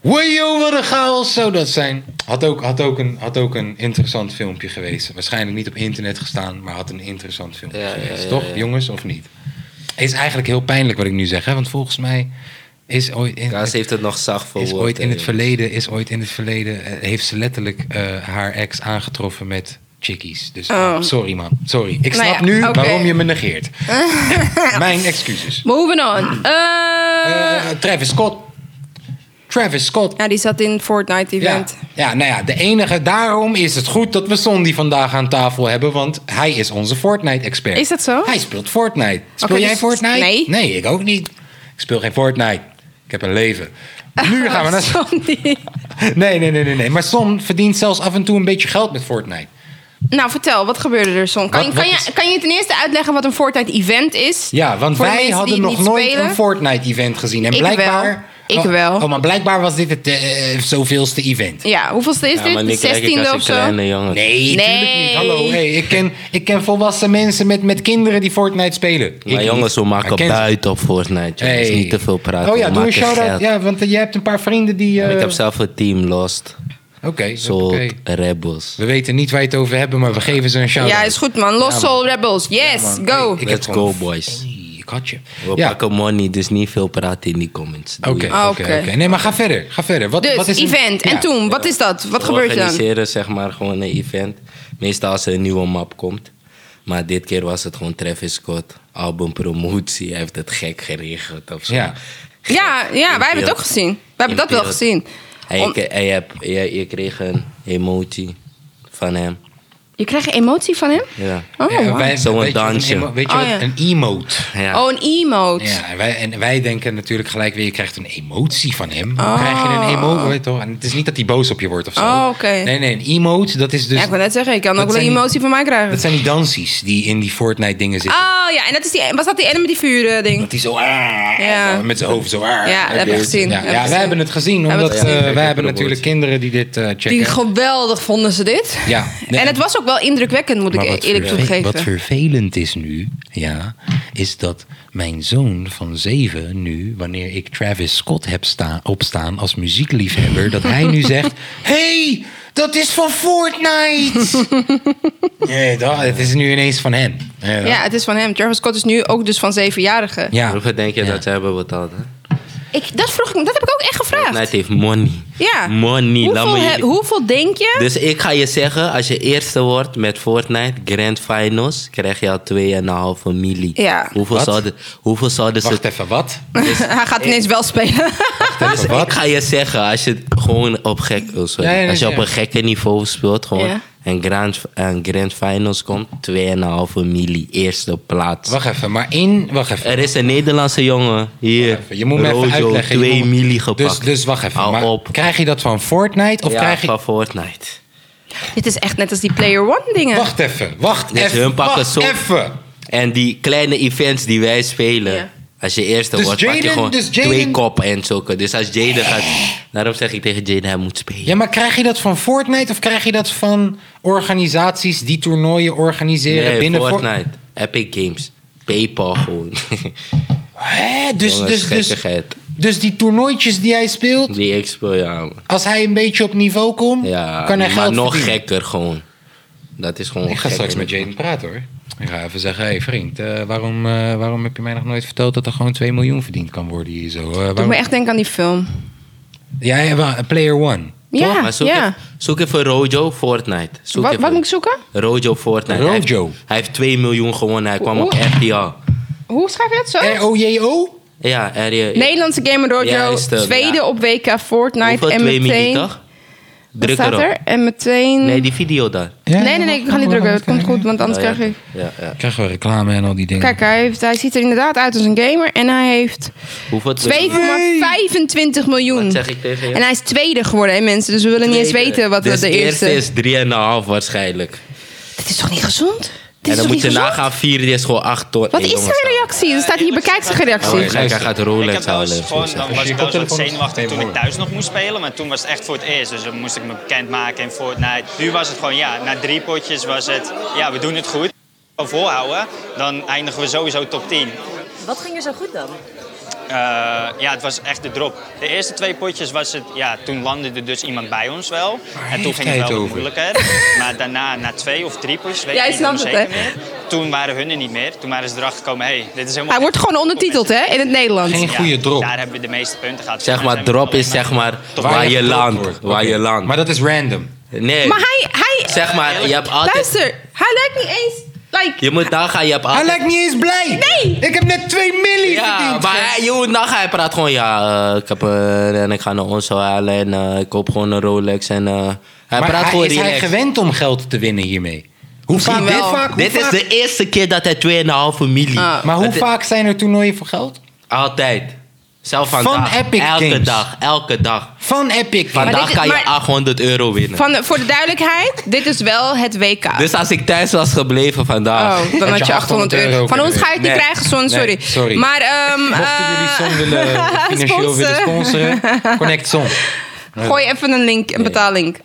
Wajo, wat een chaos zou dat zijn. Had ook, had, ook een, had ook een interessant filmpje geweest. Waarschijnlijk niet op internet gestaan, maar had een interessant filmpje Ja, ja, geweest. ja, Toch, ja. jongens, of niet? Is eigenlijk heel pijnlijk wat ik nu zeg, hè? want volgens mij is ooit in, Kaas heeft het nog zacht voor is ooit in het verleden, is ooit in het verleden, eh, heeft ze letterlijk eh, haar ex aangetroffen met chickies. Dus Oh. sorry man, sorry. Ik Nou snap ja, nu oké. waarom je me negeert. Mijn excuses. Moving on. Eh, Eh, Travis Scott. Travis Scott. ja, die zat in Fortnite Ja, event. ja, nou ja, de enige. Daarom is het goed dat we Sondi vandaag aan tafel hebben, want hij is onze Fortnite-expert. Is dat zo? Hij speelt Fortnite. Speel Oké, jij dus- Fortnite? nee. Nee, ik ook niet. Ik speel geen Fortnite. Ik heb een leven. Nu Ah, gaan we naar. Oh, Sorry. Nee, nee, nee, nee, nee. Maar Son verdient zelfs af en toe een beetje geld met Fortnite. Nou, vertel, wat gebeurde er, Son? Kan, Wat- kan, wat je, kan je ten eerste uitleggen wat een Fortnite event is? Ja, want Voor de wij mensen die hadden het nog niet nooit spelen? een Fortnite-event gezien. En Ik blijkbaar. wel. Ik Oh, wel. Oh, maar blijkbaar was dit het eh, zoveelste event. Ja, hoeveelste is Ja, maar dit? nu De kijk 16e ik als of een zo? kleine jongen. Nee, natuurlijk Nee. niet. Hallo, hey, ik, ken, ik ken volwassen mensen met, met kinderen die Fortnite spelen. Ik Maar niet. jongens, we maken Maar ken- buiten op Fortnite. jongens. Hey. Niet te veel praten. Oh ja, we doe een maken shout-out. geld. Ja, want eh, jij hebt een paar vrienden die... eh, Ik heb zelf een team lost. Oké, Sold oké. Rebels. We weten niet waar je het over hebben, maar we geven ze een shout-out. Ja, is goed, man. Lost Ja, man. Soul Rebels. Yes, man. go. Hey, ik heb Let's gewoon- go, boys. Oei, ik had je. We Ja, oké, pakken money, dus niet veel praten in die comments. Doei. oké. Ah, oké. oké. Nee, maar ga verder. Ga verder. Wat, Dus, wat is een- event. Ja. En toen, wat is dat? Wat We gebeurt er dan? organiseren zeg maar gewoon een event. Meestal als er een nieuwe map komt. Maar dit keer was het gewoon Travis Scott, albumpromotie. Hij heeft het gek geregeld of zo. Ja. Ja, ja wij hebben het beeld. ook gezien. We hebben In dat wel beeld. gezien. En Om- je, en je, hebt- je, je kreeg een emotie van hem. Je krijgt een emotie van hem? Ja. Oh, Ja, wauw. wij- Zo'n weet je wat een dansje. emo- Weet je Oh, wat? ja. Een emote. Ja. Oh, een emote. Ja, en wij, en wij denken natuurlijk gelijk weer, je krijgt een emotie van hem. Dan Krijg je een emotie, weet je toch? En het is niet dat hij boos op je wordt of zo. Oh, oké. Nee, nee, een emote, dat is dus... Ja, ik wil net zeggen, ik kan dat ook wel een zijn die- emotie van mij krijgen. Dat zijn die dansies die in die Fortnite dingen zitten. Oh ja, en dat is die, was dat die ene met die vuren ding? Dat hij zo... ah, Ja. zo Met zijn hoofd zo... ah, Ja, dat heb ik weet je. gezien. Ja, Heb ik ja, wij gezien. hebben het gezien, Hebben omdat we het eh, gezien. wij heb hebben het natuurlijk kinderen die dit eh, checken. Die geweldig vonden ze dit. Ja. Nee, en het was ook wel indrukwekkend, moet ik e- Maar wat eerlijk verve- toegeven. Wat vervelend is nu, ja, is dat mijn zoon van zeven nu, wanneer ik Travis Scott heb sta opstaan als muziekliefhebber, dat hij nu zegt: hey, dat is van Fortnite! nee, dat, het is nu ineens van hem. Ja, ja, het is van hem. Travis Scott is nu ook dus van zevenjarige. ja. Hoeveel denk je Ja. dat ze hebben betaald? Hè? Ik, dat, vroeg, ik me- dat heb ik ook echt Fortnite gevraagd. heeft money. Ja. Money. laat Hoeveel, me he- jullie- hoeveel denk je? Dus ik ga je zeggen, als je eerste wordt met Fortnite Grand Finals, krijg je al 2,5 milli. Ja. Hoeveel Wat? zouden, hoeveel zouden ze... Wacht even, wat? Hij gaat ineens wel spelen. Dus ik ga je zeggen, als je gewoon op gek... oh, sorry. Ja, ja, als je ja. op een gekke niveau speelt gewoon, Ja. en grand, en grand Finals komt, 2,5 milli, eerste plaats. Wacht even, maar in. Wacht even. Er is een Nederlandse jongen hier, Even, Je moet me even Rojo, uitleggen. 2 je moet- milli gepakt. Dus, dus wacht even. Hou maar op. Krijg je dat van Fortnite of ja, krijg je. van Fortnite. Dit is echt net als die Player One dingen. Wacht even, wacht Dus even. hun pakken Wacht zo- even. En die kleine events die wij spelen. Ja. Als je eerste Dus wordt, pak je Jaden- gewoon dus Jaden- twee koppen en zulke. Dus als Jaden gaat... Daarom zeg ik tegen Jaden, hij moet spelen. Ja, maar krijg je dat van Fortnite of krijg je dat van organisaties die toernooien organiseren nee, binnen Fort- Fortnite, Epic Games, Paypal gewoon. Hè? Dus, Jongens, dus, dus, gekkigheid. dus die toernooitjes die hij speelt, die ik speel, ja. man. als hij een beetje op niveau komt, ja kan hij maar geld nog verdienen. gekker gewoon. Dat is gewoon Ik ga gek. straks met Jaden praten hoor. Ik ga even zeggen, hé hey, vriend, eh, waarom, eh, waarom heb je mij nog nooit verteld dat er gewoon 2 miljoen verdiend kan worden hier zo? Eh, Doe waarom... me echt denken aan die film. Jij hebt een player one. Toch? Ja, Maar zoek, ja. even, zoek even Rojo Fortnite. Zoek Wat, even wat moet ik zoeken? Rojo Fortnite. Hij heeft- Rojo. Hij heeft 2 miljoen gewonnen. Hij kwam op Oeh. RTL. Hoe schrijf je dat zo? R-O-J-O? Eh, oh, Ja, RTL. Nederlandse Gamer Dojo, Juist, eh, tweede ja. op WK Fortnite. Hoeveel? en 2 miljoen, meteen... toch? Wat Druk staat erop. er? En meteen... Nee, Nee, die video daar. nee, nee, ik ga Oh, niet drukken. Het komt goed, want anders Oh, ja. krijg ik... Ja, ja. Krijgen we reclame en al die dingen. Kijk, hij, heeft, hij ziet er inderdaad uit als een gamer. En hij heeft 2,25 Hoeveel? miljoen. Wat zeg ik tegen je? En hij is tweede geworden, hè, mensen. Dus we willen niet eens Tweede. weten wat dus de eerste... is. is 3,5 waarschijnlijk. Dit is toch niet gezond? Dit en is dan toch moet niet je gezond? nagaan, 4 is gewoon 8 ton. Wat Hey, is jongens, zijn reactie? Er staat hier, bekijk zijn reactie. Oh, kijk, hij gaat Ik Rolex heb wel eens houden. gewoon, dan was ik wel eens wat zenuwachtig toen ik woorden. thuis nog moest spelen. Maar toen was het echt voor het eerst. Dus dan moest ik me bekendmaken in Fortnite. Nu was het gewoon, ja, na drie potjes was het... Ja, we doen het goed. Gewoon Volhouden. Dan eindigen we sowieso top 10. Wat ging er zo goed dan? Eh, ja, het was echt de drop. De eerste twee potjes was het... Ja, toen landde er dus iemand bij ons wel. en toen heeft ging hij het het wel wat over? moeilijker. maar daarna, na twee of drie potjes, weet Jij ik niet snapt het, onzeker hè? meer. Toen waren hun er niet meer. Toen waren ze erachter gekomen, hé, hey, dit is helemaal... Hij wordt gewoon ondertiteld, hè, in het Nederlands. Geen Ja, goede drop. Daar hebben we de meeste punten gehad. Zeg maar, Daar zijn we drop alleen is zeg maar Waar waar je gedropt land. wordt. Waar Oké. je land. Maar dat is random. Nee, Maar hij... hij zeg maar, je hebt altijd... Luister, hij lijkt niet eens... Like, Je moet nagaan, je hebt Ah. Hij altijd... lijkt niet eens blij. Nee! Ik heb net 2 miljoen Ja, verdiend. maar hij, je moet nagaan, hij praat gewoon, ja, eh, ik heb eh, en ik ga naar ons halen en eh, ik koop gewoon een Rolex en... eh, hij maar praat hij, gewoon is hij relaxed. gewend om geld te winnen hiermee? Hoe Misschien vaak, dit wel. vaak? Hoe Dit is vaak? de eerste keer dat hij 2,5 miljoen... Ah. Maar hoe Het- vaak zijn er toernooien voor geld? Altijd. Zelf Van vandaag. Epic elke Games. dag, elke dag. Van Epic Games. Maar Vandaag dit- kan je maar- 800 euro winnen. van de- voor de duidelijkheid, dit is wel het WK. Dus als ik thuis was gebleven vandaag... Oh, dan had je 800 euro. Van ons ga je het niet Nee. krijgen, Son, sorry. Nee, sorry. Maar, ehm Mochten eh, jullie Son willen, eh, financieel willen sponsoren, connect Son. eh, Gooi even een link, een betaallink.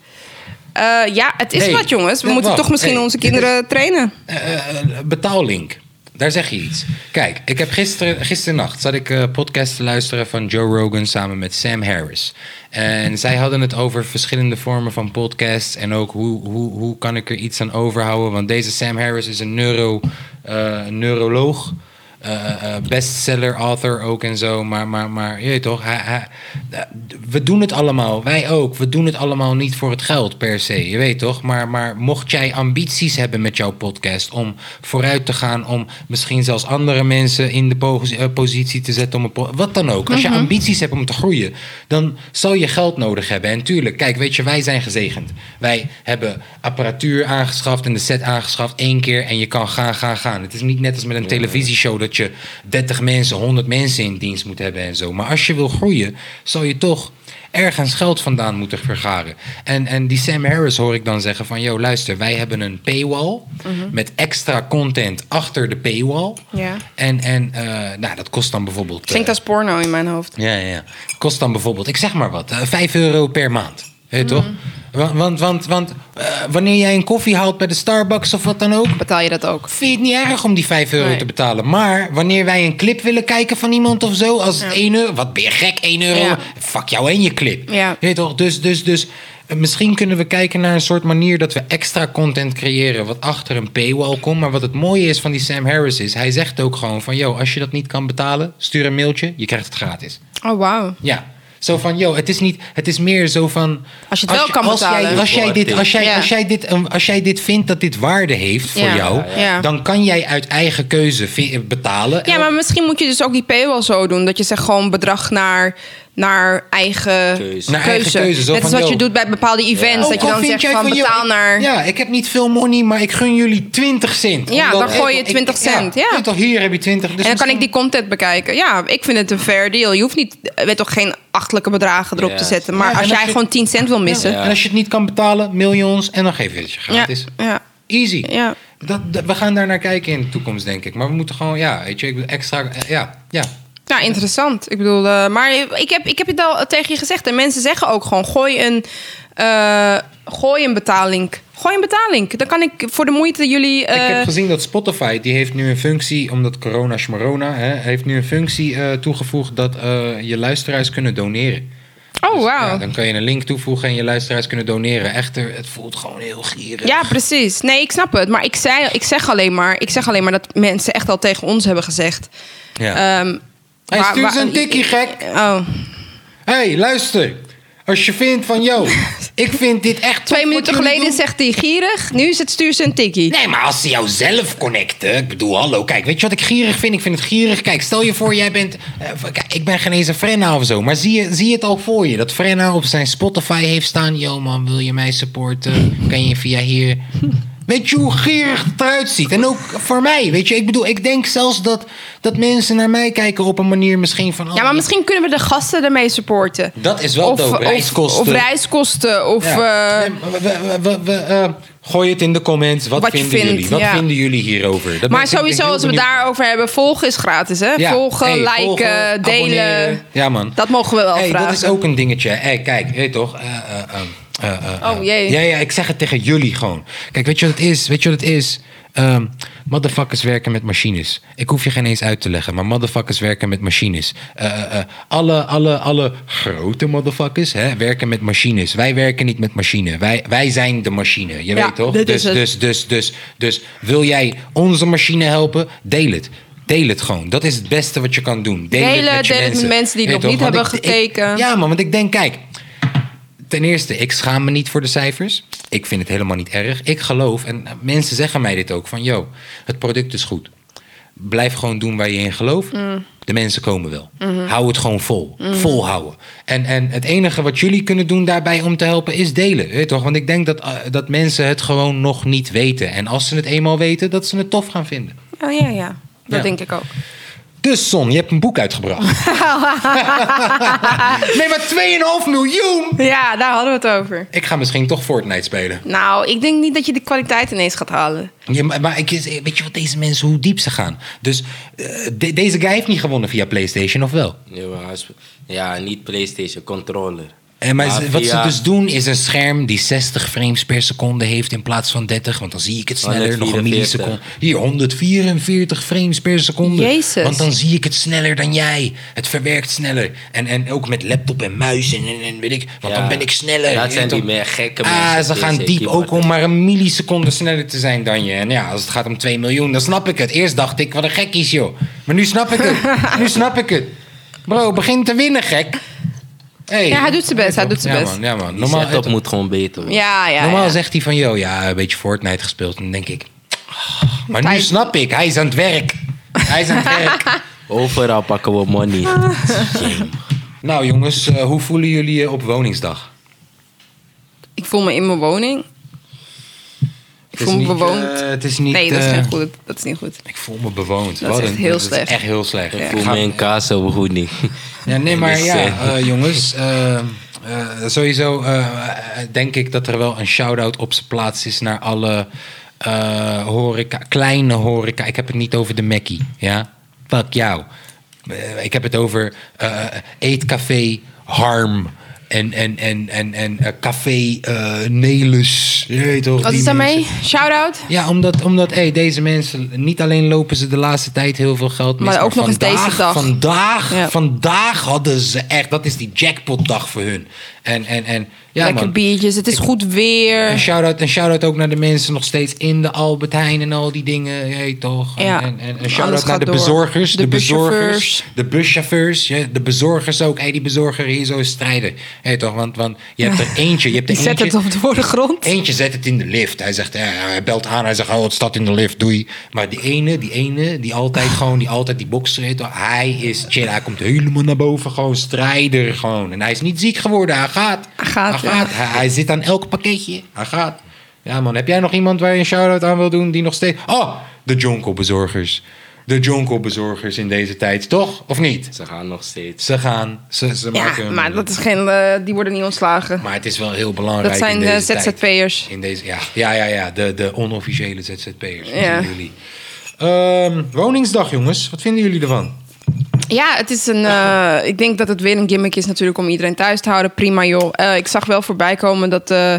Eh, ja, het is Nee, wat jongens. We nee, moeten wacht. toch misschien Nee, onze dit is- kinderen trainen. Eh, eh, betaallink. Daar zeg je iets. Kijk, ik heb gisteren, gisternacht zat ik eh podcast te luisteren van Joe Rogan samen met Sam Harris. En zij hadden het over verschillende vormen van podcasts en ook hoe, hoe, hoe kan ik er iets aan overhouden. Want deze Sam Harris is een neuro, eh, neuroloog, eh, eh, bestseller author ook en zo. Maar, maar, maar je weet toch, hij, hij- eh, we doen het allemaal, wij ook. We doen het allemaal niet voor het geld per se, je weet toch? Maar, maar mocht jij ambities hebben met jouw podcast om vooruit te gaan, om misschien zelfs andere mensen in de po- eh, positie te zetten, om een po- wat dan ook. Als je ambities hebt om te groeien, dan zal je geld nodig hebben. En tuurlijk, kijk, weet je, wij zijn gezegend. Wij hebben apparatuur aangeschaft en de set aangeschaft één keer en je kan gaan, gaan, gaan. Het is niet net als met een televisieshow dat je 30 mensen, 100 mensen in dienst moet hebben en zo. Maar als je wil groeien, zal je toch ergens geld vandaan moeten vergaren. En, en die Sam Harris hoor ik dan zeggen van... yo, luister, wij hebben een paywall... Mhm. met extra content achter de paywall. Ja. En, en eh, nou, dat kost dan bijvoorbeeld... Klinkt eh, als porno in mijn hoofd. ja, ja, ja. Kost dan bijvoorbeeld, ik zeg maar wat, eh, 5 euro per maand. Hé, toch? Mm. Wa- Want, want, want eh, wanneer jij een koffie haalt bij de Starbucks of wat dan ook... Betaal je dat ook? Vind je het niet erg om die 5 euro Nee. te betalen? Maar wanneer wij een clip willen kijken van iemand of zo, als het 1 euro, wat ben je gek, 1 euro? Ja. Fuck jou en je clip. Ja. Je weet toch? Dus, dus, dus eh, misschien kunnen we kijken naar een soort manier dat we extra content creëren wat achter een paywall komt. Maar wat het mooie is van die Sam Harris is, hij zegt ook gewoon van, yo, als je dat niet kan betalen, stuur een mailtje, je krijgt het gratis. Oh, wauw. Ja. Zo van, yo, het is, niet, het is meer zo van... Als je het wel kan als jij- betalen. als, jij dit, als, jij, Ja. als, jij dit, um, als jij dit vindt dat dit waarde heeft voor Ja. jou... Ja, ja. dan kan jij uit eigen keuze vi- betalen. Ja, maar misschien moet je dus ook die paywall zo doen. Dat je zegt gewoon bedrag naar, naar eigen keuze. Keuze. Naar eigen keuze, zo Net als van, wat je yo. doet bij bepaalde events. Ook Dat al je dan Oh, vind zegt jij van joh, betaal ik- naar... Ja, ik heb niet veel money, maar ik gun jullie 20 cent. Ja, Omdat- dan gooi je ik- 20 cent, ja. weet toch, hier heb je 20. Dus en dan kan misschien- ik die content bekijken. Ja, ik vind het een fair deal. Je hoeft niet, weet toch, geen achtelijke bedragen erop Ja. te zetten. Maar Ja, en als als jij je- gewoon 10 cent wil missen. En als je het niet kan betalen, miljoens, en dan geef je het je Ja, gratis. ja. Easy. Ja. Dat, dat- we gaan daar naar kijken in de toekomst, denk ik. Maar we moeten gewoon, ja, weet je, ik wil extra... eh, Ja, ja. Nou, interessant. Ik bedoel, eh, maar ik heb, ik heb het al tegen je gezegd. En mensen zeggen ook gewoon: gooi een, eh, gooi een betaling. Gooi een betaling. Dan kan ik voor de moeite jullie. eh, Ik heb gezien dat Spotify, die heeft nu een functie, omdat corona schmarona, hè, heeft nu een functie eh, toegevoegd dat eh, je luisteraars kunnen doneren. Oh, Ja, wauw. dan kan je een link toevoegen en je luisteraars kunnen doneren. Echter, het voelt gewoon heel gierig. Ja, precies. Nee, ik snap het. Maar ik, zei, ik, zeg alleen maar, ik zeg alleen maar dat mensen echt al tegen ons hebben gezegd. Ja. Ehm, Hij waar- stuurt waar- een tikkie, gek. Oh, Hé, hey, luister. Als je vindt van, yo, ik vind dit echt... twee tof wat minuten jullie geleden doen. zegt hij gierig. Nu is het stuur ze een tikkie. Nee, maar als ze jou zelf connecten. Ik bedoel, hallo, kijk, weet je wat ik gierig vind? Ik vind het gierig. Kijk, stel je voor, jij bent. eh, kijk, ik ben geen eens een Frenna of zo. Maar zie je, zie je het al voor je? Dat Frenna op zijn Spotify heeft staan. Yo, man, wil je mij supporten? Kan je via hier. Weet je hoe gierig het eruit ziet? En ook voor mij, weet je. Ik bedoel, ik denk zelfs dat, dat mensen naar mij kijken op een manier misschien van... oh, Ja, maar misschien kunnen we de gasten ermee supporten. Dat is wel of, dope. of- Reiskosten. Of, reiskosten. Of, Ja. eh, Nee, maar we- we- we- eh, gooi het in de comments. Wat, Wat je vinden vindt, jullie? Wat ja. vinden jullie hierover? Dat maar ben ik- ik ben sowieso, heel als we het benieuwd naar. daarover hebben, volgen is gratis, hè? Ja. eh, Volgen, Hey, liken, volgen, delen. abonneren. Ja, man. Dat mogen we wel Hey, vragen. dat is ook een dingetje. Hey, kijk, weet je toch? Eh, eh, eh, eh, eh, Oh, jee. Ja, ja, ik zeg het tegen jullie gewoon. Kijk, weet je wat het is? Weet je wat het is? Ehm, motherfuckers werken met machines. Ik hoef je geen eens uit te leggen, maar motherfuckers werken met machines. Eh, eh, eh, alle, alle, alle grote motherfuckers hè, werken met machines. Wij werken niet met machine. Wij, wij zijn de machine. Je Ja, weet toch? dit dus, is het. dus, dus, dus, dus wil jij onze machine helpen? Deel het. Deel het gewoon. Dat is het beste wat je kan doen. Deel, het Delen, met je deel het met mensen. mensen die Weet nog je niet Want hebben ik- ik- gekeken. ja, man, want ik denk, kijk. Ten eerste, ik schaam me niet voor de cijfers. Ik vind het helemaal niet erg. Ik geloof, en mensen zeggen mij dit ook, van yo, het product is goed. Blijf gewoon doen waar je in gelooft. Mm. De mensen komen wel. Mm-hmm. Hou het gewoon vol. Volhouden. En, en het enige wat jullie kunnen doen daarbij om te helpen is delen. Weet je toch? Want ik denk dat, eh, dat mensen het gewoon nog niet weten. En als ze het eenmaal weten, dat ze het tof gaan vinden. Oh ja, ja. Dat Ja. denk ik ook. Dus Son, je hebt een boek uitgebracht. nee, maar 2,5 miljoen! Ja, daar hadden we het over. Ik ga misschien toch Fortnite spelen. Nou, ik denk niet dat je de kwaliteit ineens gaat halen. Ja, maar, maar ik, weet je wat deze mensen, hoe diep ze gaan? Dus eh, de- deze guy heeft niet gewonnen via PlayStation, of wel? Ja, maar als- Ja, niet PlayStation, controller. En maar ze- wat via- ze dus doen is een scherm die 60 frames per seconde heeft in plaats van 30. Want dan zie ik het Oh, sneller, nog een 144. milliseconde. Hier, 144 frames per seconde. Jezus. Want dan zie ik het sneller dan jij. Het verwerkt sneller. En, en ook met laptop en muis en, en, en weet ik. Want Ja. dan ben ik sneller. Dat Weet zijn je die toch? meer gekke Ah, mensen, ze gaan PC diep ook keyboarden. om maar een milliseconde sneller te zijn dan je. En ja, als het gaat om 2 miljoen, dan snap ik het. Eerst dacht ik, wat een gek is joh. Maar nu snap ik het. nu snap ik het. Bro, begin te winnen, gek. Hey. Ja, hij doet zijn best, hij doet zijn ja, best. Man, ja, man. Die Normaal, setup moet gewoon beter worden. Ja, ja. normaal ja. zegt hij van, yo, ja, een beetje Fortnite gespeeld. En dan denk ik, ah, maar nu Hij- snap ik, hij is aan het werk. Hij is aan het werk. Overal pakken we money. Shame. nou jongens, eh, hoe voelen jullie je op woningsdag? Ik voel me in mijn woning. Ik voel me niet, bewoond. eh, het is niet... nee, dat is, eh, geen goed. dat is niet goed. Ik voel me bewoond. Dat is Wat echt een- heel dat is slecht. echt heel slecht. Ik Ik voel ga- me in kaas op goed niet. Ja, nee, maar Dus, ja, eh, eh, jongens. eh, eh, sowieso eh, denk ik dat er wel een shout-out op zijn plaats is naar alle eh, horeca, kleine horeca. Ik heb het niet over de Mackie, ja? Fuck jou. Eh, ik heb het over eh, Eetcafé Harm. En, en, en, en, en eh, Café eh Nelus. Je weet toch, Wat die is daarmee? mensen. Shout-out? Ja, omdat, omdat hey, deze mensen, niet alleen lopen ze de laatste tijd heel veel geld mis. Maar ook nog eens vandaag- deze dag. Vandaag, Ja. vandaag hadden ze echt, dat is die jackpotdag voor hun. En, en, en ja, Lekker man. biertjes, het is goed Een weer. shout-out en shout-out ook naar de mensen nog steeds in de Albert Heijn en al die dingen. Je weet toch? En, Ja. en, en een Alles shout-out naar gaat de door. bezorgers. De, De bezorgers. buschauffeurs. De buschauffeurs. ja, de bezorgers ook. Hey, die bezorger hier zo is strijden. Je weet toch? Want, want je hebt er eentje. Je hebt er Die zet eentje. het op de voorgrond. Eentje zet het in de lift. Hij zegt, eh, hij belt aan. Hij zegt, oh, het staat in de lift, doei. Maar die ene, die ene, die altijd gewoon, die altijd die bokser heet. Hij is chill. Hij komt helemaal naar boven. Gewoon strijder gewoon. En hij is niet ziek geworden. Hij gaat. Hij gaat, Hij, ja. Hij, hij zit aan elk pakketje. Hij gaat. Ja man, heb jij nog iemand waar je een shout-out aan wil doen die nog steeds... Oh, de Jonko-bezorgers. De Jonko-bezorgers in deze tijd, toch? Of niet? Ze gaan nog steeds. Ze gaan, ze, ze maken... Ja, hun- maar dat is geen, eh, die worden niet ontslagen. maar het is wel heel belangrijk. Dat zijn in de deze tijd. ZZP'ers. In deze, ja. ja, ja, ja. De, de onofficiële ZZP'ers. Dat Ja. zijn jullie. Ehm, woningsdag, jongens. Wat vinden jullie ervan? Ja, het is een. eh, ik denk dat het weer een gimmick is natuurlijk om iedereen thuis te houden. Prima joh. Eh, ik zag wel voorbij komen dat eh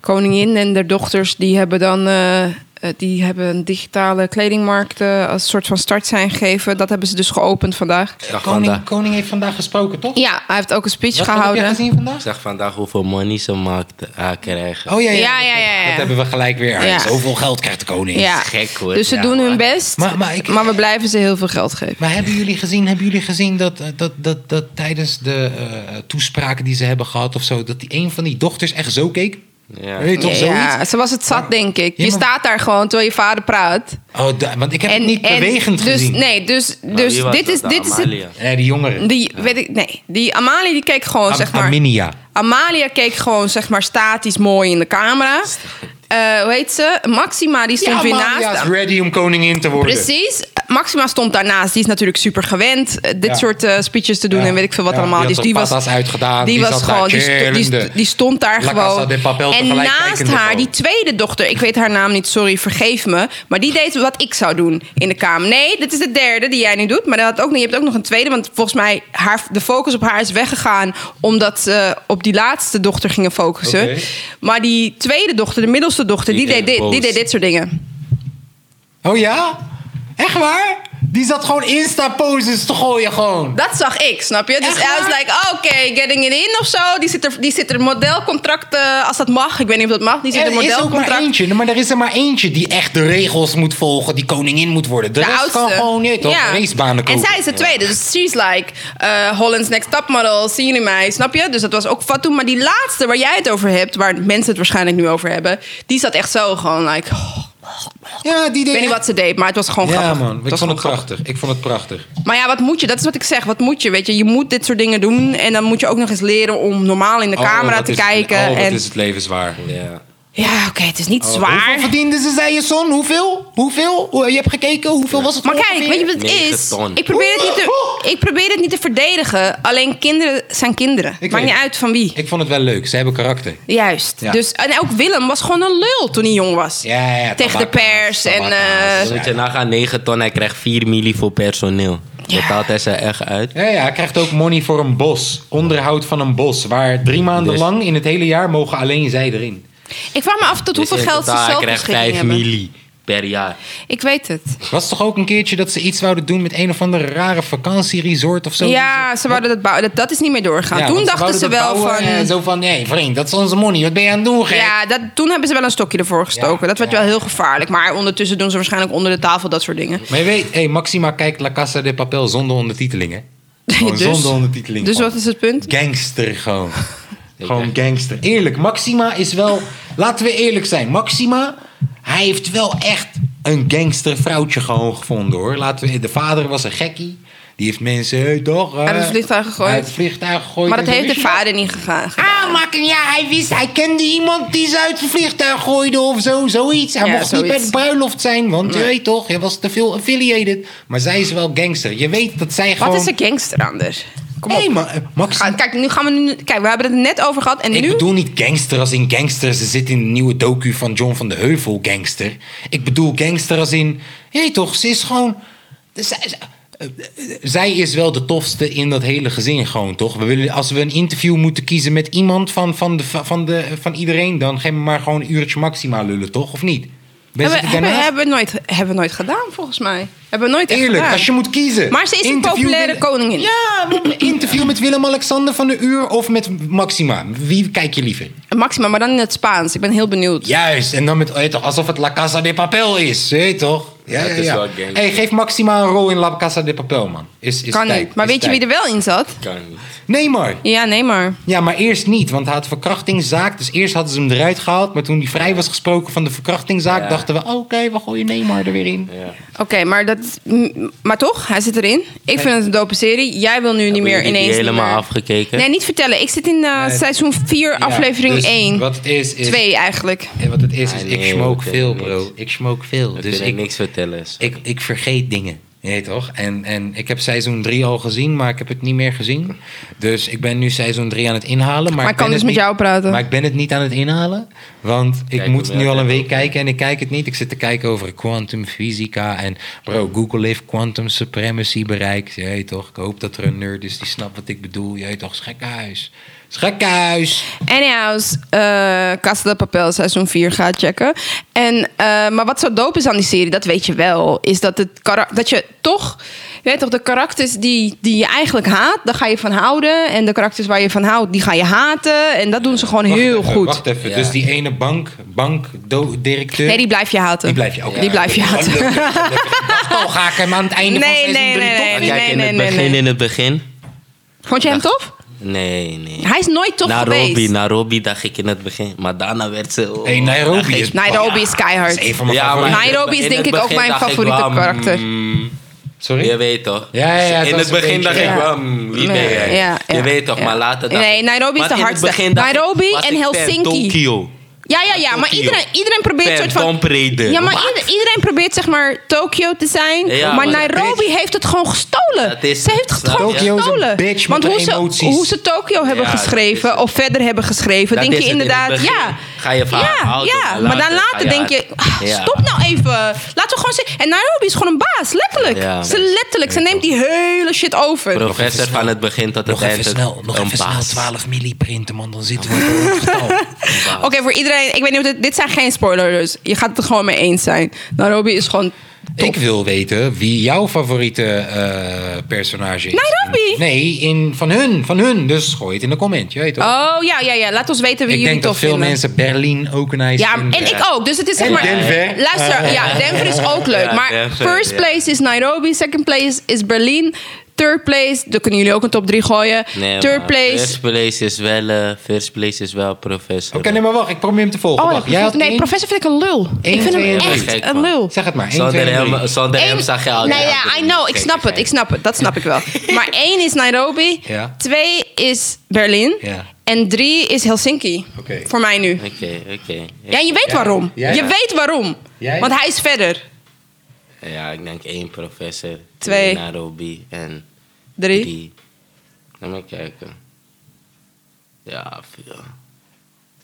koningin en haar dochters die hebben dan eh, Eh, die hebben een digitale kledingmarkt eh, als soort van start zijn gegeven. Dat hebben ze dus geopend vandaag. zag Koning, vandaag, koning heeft vandaag gesproken, toch? Ja, hij heeft ook een speech Wat heb je gehouden. gezien ik vandaag? zag vandaag hoeveel money ze maakten, ah, krijgen. Oh ja, ja. Ja, ja, ja, ja. Dat hebben we gelijk weer. Ja. Zoveel geld krijgt de koning. Ja. gek, hoor. Dus ze Ja, doen hun man. best, maar, Maar- maar ik- we blijven ze heel veel geld geven. Maar hebben jullie gezien, hebben jullie gezien dat, eh, dat, dat, dat tijdens de eh, toespraken die ze hebben gehad of zo, dat die een van die dochters echt zo keek? Ja. Weet je toch Ja, zoiets? ze was het zat, denk ik. Ja, Je maar- staat daar gewoon terwijl je vader praat. Oh, da- want ik heb het niet bewegend dus, gezien. Nee, dus, dus wie Nou, was dit dat is, dan? dit is het. Amalia? Nee, die jongeren. Die, weet ik, nee, die Amalie die keek gewoon, Am- Oh, zeg maar. Aminia. Amalia keek gewoon, zeg maar, statisch mooi in de camera. Eh, hoe heet ze? Maxima, die stond Ja, weer Amalia naast is hem. ready om koningin te worden. Precies. Maxima stond daarnaast. Die is natuurlijk super gewend eh, dit Ja. soort eh, speeches te doen Ja. en weet ik veel wat Ja, allemaal. die had Dus toch patas uitgedaan, Die, die was zat daar gewoon, die, sto- die, chillende. die stond daar La Casa de Papel gewoon. En tegelijk naast kijkende haar, gewoon. die tweede dochter, ik weet haar naam niet, sorry, vergeef me. Maar die deed wat ik zou doen in de kamer. Nee, dit is de derde die jij nu doet. Maar dat had ook, niet- je hebt ook nog een tweede, want volgens mij haar, de focus op haar is weggegaan omdat ze op die laatste dochter gingen focussen. Oké. Maar die tweede dochter, de middelste dochter, die, Die deed, deed dit, die boos. deed dit soort dingen. Oh ja? Echt waar? Die zat gewoon Insta-poses te gooien gewoon. Dat zag ik, snap je? Dus Echt hij was waar? like, oh, oké, getting it in of zo. Die zit er, die zit er modelcontract, eh, als dat mag. Ik weet niet of dat mag. Die zit er Er is ook maar modelcontract. eentje, maar er is er maar eentje die echt de regels moet volgen, die koningin moet worden. De, De rest oudste. kan gewoon niet, toch? Racebanen En kopen. zij is de tweede. Dus she's like, eh, Holland's Next Top Model, zien jullie mij, snap je? Dus dat was ook Fatou. Maar die laatste waar jij het over hebt, waar mensen het waarschijnlijk nu over hebben... die zat echt zo gewoon like... oh, Ja, die ik weet niet wat ze deed, maar het was gewoon Ja, grappig. man. Ik was vond het gewoon prachtig. Ik vond het prachtig. Maar ja, wat moet je? Dat is wat ik zeg. Wat moet je? Weet je, je moet dit soort dingen doen. En dan moet je ook nog eens leren om normaal Oh, in de camera te kijken. en... het leven zwaar. Oh. Ja. Ja, oké, het is niet zwaar. Oh, Hoeveel verdienden ze, zei je son? Hoeveel? Hoeveel? Hoe- Je hebt gekeken, hoeveel was het Maar kijk, ongeveer? weet je wat het Negen is? ton. Ik probeer het niet te, Oh! ik probeer het niet te verdedigen. Alleen kinderen zijn kinderen. Ik Maakt weet niet het. uit van wie. Ik vond het wel leuk. Ze hebben karakter. Juist. Ja. Dus, en ook Willem was gewoon een lul toen hij jong was. Ja, ja, Tegen de tabakkaas, pers en... tabakkaas. eh, Dan moet je nagaan, 9 ton, hij krijgt 4 milli voor personeel. Ja. Betaalt hij ze echt uit? Ja, ja, hij krijgt ook money voor een bos. Onderhoud van een bos. Waar drie maanden Dus- lang in het hele jaar mogen alleen zij erin. ik vraag me af tot hoeveel Dus in geld ze totaal, zelf Hij beschikking krijgt 5 hebben. milli per jaar. Ik weet het. Was toch ook een keertje dat ze iets wouden doen met een of andere rare vakantieresort of zo? ja, ze wouden dat bouwen. Dat, dat is niet meer doorgegaan. Ja, toen want dachten wouden ze dat wel bouwen van... En zo van, hé vriend, dat is onze money. Wat ben je aan het doen, gek? Ja, dat, toen hebben ze wel een stokje ervoor gestoken. Ja, dat werd ja. wel heel gevaarlijk. Maar ondertussen doen ze waarschijnlijk onder de tafel dat soort dingen. Maar je weet, hé, Maxima kijkt La Casa de Papel zonder ondertiteling, hè? Gewoon Dus- zonder ondertiteling. Dus gewoon. wat is het punt? Gangster gewoon. gewoon gangster. Eerlijk, Maxima is wel... Laten we eerlijk zijn. Maxima, hij heeft wel echt een gangster vrouwtje gewoon gevonden, hoor. Laten we, de vader was een gekkie. Die heeft mensen... Hey, toch, Hij eh, heeft het vliegtuig gegooid. Hij heeft het vliegtuig gegooid. Maar dat En heeft de wist je dat? vader niet gegaan. Ah, makken, ja, hij wist, hij kende iemand die ze uit het vliegtuig gooide of zo, zoiets. Hij Ja, mocht niet bij zoiets. de bruiloft zijn, want je weet toch, hij was te veel affiliated. Maar zij is wel gangster. Je weet dat zij gewoon... Wat is een gangster anders? Kom op. Hé, maar, eh, Max, Ga- kijk, nu gaan we nu. Kijk, we hebben het er net over gehad. En ik nu. bedoel niet gangster als in gangster. Ze zit in de nieuwe docu van John van de Heuvel, gangster. Ik bedoel gangster als in... Je weet toch, ze is gewoon... Zij, zij- eh, eh, zij is wel de tofste in dat hele gezin gewoon, toch? We willen, als we een interview moeten kiezen met iemand van, van, de, van, de, van iedereen... dan geef me maar gewoon een uurtje maxima lullen, toch? Of niet? Ben je hebben, het hebben, daarnaast? hebben, we nooit, hebben we nooit gedaan, volgens mij. Hebben we nooit echt Eerlijk, gedaan. als je moet kiezen. Maar ze is een Interview populaire Willem- koningin. Ja, maar interview met Willem-Alexander van de Uur of met Maxima. Wie kijk je liever? Maxima, maar dan in het Spaans. Ik ben heel benieuwd. Juist, en dan met, weet toch, alsof het La Casa de Papel is, weet je toch? Ja, Dat ja, is ja. wel gangster. Hey, geef Maxima een rol in La Casa de Papel, man. Is, is kan tijd, niet. Maar is weet je tijd. wie er wel in zat? Kan niet. Nee, maar. Ja, nee, maar. Ja, maar eerst niet, want hij had verkrachtingszaak. Dus eerst hadden ze hem eruit gehaald. Maar toen hij vrij was gesproken van de verkrachtingszaak... Ja. dachten we, oké, we gooien Neymar er weer in. Ja. Oké, maar dat. m- Maar toch, hij zit erin. Ik vind het een dope serie. Jij wil nu niet meer jullie die ineens. niet helemaal meer- afgekeken? Nee, niet vertellen. Ik zit in eh, seizoen 4, aflevering dus 1. Wat het is, is... 2 eigenlijk. en Wat het is, is Ah, ik nee, smoke we veel, kunnen bro. niks. Ik smoke veel. We dus kunnen ik, niks vertellen. sorry. ik, ik vergeet dingen. Je weet toch? En, en ik heb seizoen 3 al gezien, maar ik heb het niet meer gezien. Dus ik ben nu seizoen 3 aan het inhalen. Maar, ik ik kan ben het dus met niet- jou praten. Maar ik ben het niet aan het inhalen. Want ik Kijk, moet we het nu al hebben een week ook- kijken en ik kijk het niet. Ik zit te kijken over kwantumfysica. En bro, Google heeft quantum supremacy bereikt. Je weet toch? Ik hoop dat er een nerd is die snapt wat ik bedoel. Je weet toch? Is gekhuis. Gekhuis. Anyhows, eh Casa de Papel seizoen 4 gaat checken. En, eh, maar wat zo dope is aan die serie, dat weet je wel, is dat, het kara- dat je toch... Je weet toch, de karakters die, die je eigenlijk haat, daar ga je van houden. En de karakters waar je van houdt, die ga je haten. En dat doen ze gewoon heel even, goed. Wacht even, Ja. dus die ene bank, bankdirecteur... Nee, die blijf je haten. Die blijf je ook. Die blijf je haten. Oh, ga ik hem aan het einde van Nee, seizoen nee, drie nee, toch- nee. Kijk, in het begin, in het begin. Vond je hem tof? Nee, nee. Hij is nooit tof geweest. Nairobi, Nairobi dacht ik in het begin. Maar daarna werd ze... oh, Hey, Nairobi is... Nairobi is keihard. Is een van mijn Ja, maar- favorieten. Nairobi is In denk het ik ook begin mijn dacht ik favoriete wel, hmm. karakter. mm, Sorry? Je weet toch? Ja, ja, ja, het in was het een begin dacht beetje- ik Ja. wel, mm, wie ben jij? Ja, ja, je weet toch, ja. maar later dacht Nee, ik- Nairobi is Maar de in het hardste. begin dacht ik, Nairobi was en ik fan Helsinki. Tokio. Ja, ja, ja. Maar Tokio. iedereen, iedereen probeert Fan soort van... Tomb Raider. Ja, maar Wat? ieder- iedereen probeert zeg maar Tokio te zijn. Ja, maar maar Nairobi heeft het gewoon gestolen. Dat is ze het, heeft het snap gewoon je? Tokio is een gestolen. bitch Want met hoe de ze, emoties. hoe ze Tokio hebben Ja, dat is geschreven het. of verder hebben geschreven, Dat denk is je het in het inderdaad, begin. ja. Ga je van Ja, houden, ja. maar maar dan later ga later je denk je, uit. ah, Ja. stop nou even. Laten we gewoon zien. En Nairobi is gewoon een baas, letterlijk. Ja. ze letterlijk, ze neemt die hele shit over. Professor van het begin tot het Nog eind. even snel, nog een even snel baas. 12 milli printen, man. Dan zitten we in het getal. Oké, voor iedereen, ik weet niet of dit, dit zijn geen spoilers. dus Je gaat het er gewoon mee eens zijn. Nairobi is gewoon Ik wil weten wie jouw favoriete eh, personage is. Nairobi? Nee, in, van hun. Van hun. Dus gooi het in de comment. Je weet toch? Oh ja, ja, ja. Laat ons weten wie ik jullie denk dat tof veel vinden. mensen Berlijn ook nice ja, vinden. en ik ook. Dus het is zeg En maar. Denver. Luister, ja, Denver is ook leuk. Ja, maar Denver, first ja. place is Nairobi, second place is Berlin, third place. Daar kunnen jullie ook een top 3 gooien. Nee, third maar place. First place is wel, eh, first place is wel professor. Oké, nee, maar wacht. Ik probeer hem te volgen. Oh, wacht, jij had nee, één? professor vind ik een lul. ik vind twee, hem drie. echt Gek een van. lul. Zeg het maar. één, Zonder twee, drie. hem, zonder hem Eén- zag je al. Nee, die ja, I andere know. Ik niet. snap het. Ik snap het. Dat snap ik wel. Maar één is Nairobi. Ja. Twee is Berlin. Ja. En drie is Helsinki. Oké. Voor mij nu. Oké, oké. Ja, je weet waarom. Ja, ja. Je weet waarom. Ja, ja. Want hij is verder. Ja, ik denk één professor. Twee. Nairobi en Drie. drie. Laat me kijken. Ja, veel.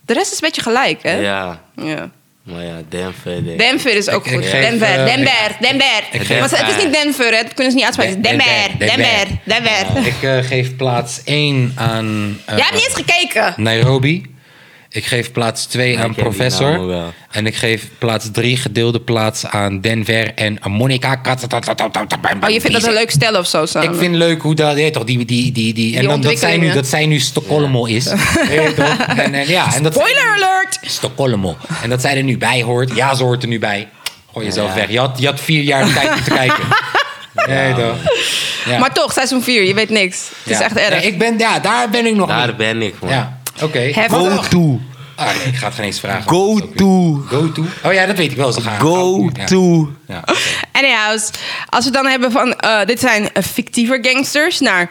De rest is een beetje gelijk, hè? Ja, Ja. maar ja, Denver. denk ik. Denver is ook Ik- goed. ik geef, Denver, eh, Denver, Denver. geef- Want het is niet Denver, hè? dat kunnen ze niet uitspreken. Het is Den- Denver, Denver, Denver, Denver. Ik eh, geef plaats 1 aan eh, Jij hebt niet eens gekeken. Nairobi. Ik geef plaats 2 aan ken die namen Professor. wel. En ik geef plaats 3 gedeelde plaats aan Denver en Monica. Oh, je vindt dat een leuk stel of zo samen? Ik vind leuk hoe dat, ja, toch, die, die, die, die, en dan dat zij nu, ontwikkelingen. dat zij nu Stockholmo is. Ja, toch? En, en, ja, en dat Spoiler alert! Stockholmo. En dat zij er nu bij hoort. Ja, ze hoort er nu bij. Gooi jezelf weg. Je had, je had vier jaar de tijd om te kijken. Nee, toch? Ja. Maar toch, seizoen 4, je weet niks. Het is Ja. echt erg. Nee, ik ben, ja, daar ben ik nog Daar niet. ben ik, man. Ja, oké. Hef- Go Go to. Ah, nee, ik ga het geen eens vragen. Go Dat is ook to. niet- Go to. Oh ja, dat weet ik wel. Ze gaan Go Ja. to. Ja, oké. Anyhows, als we het dan hebben van... eh, dit zijn eh, fictieve gangsters naar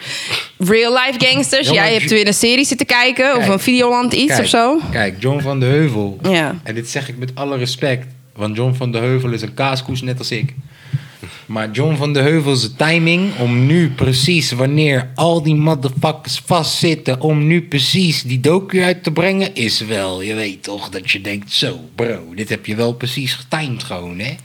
real-life gangsters. Jongen, Jij hebt weer een serie zitten kijken of Kijk. een Videoland iets Kijk, of zo. Kijk, John van de Heuvel. Ja. En dit zeg ik met alle respect. Want John van de Heuvel is een kaaskoes net als ik. Maar John van de Heuvel's timing om nu precies wanneer al die motherfuckers vastzitten... om nu precies die docu uit te brengen is wel... Je weet toch dat je denkt, zo bro, dit heb je wel precies getimed gewoon hè.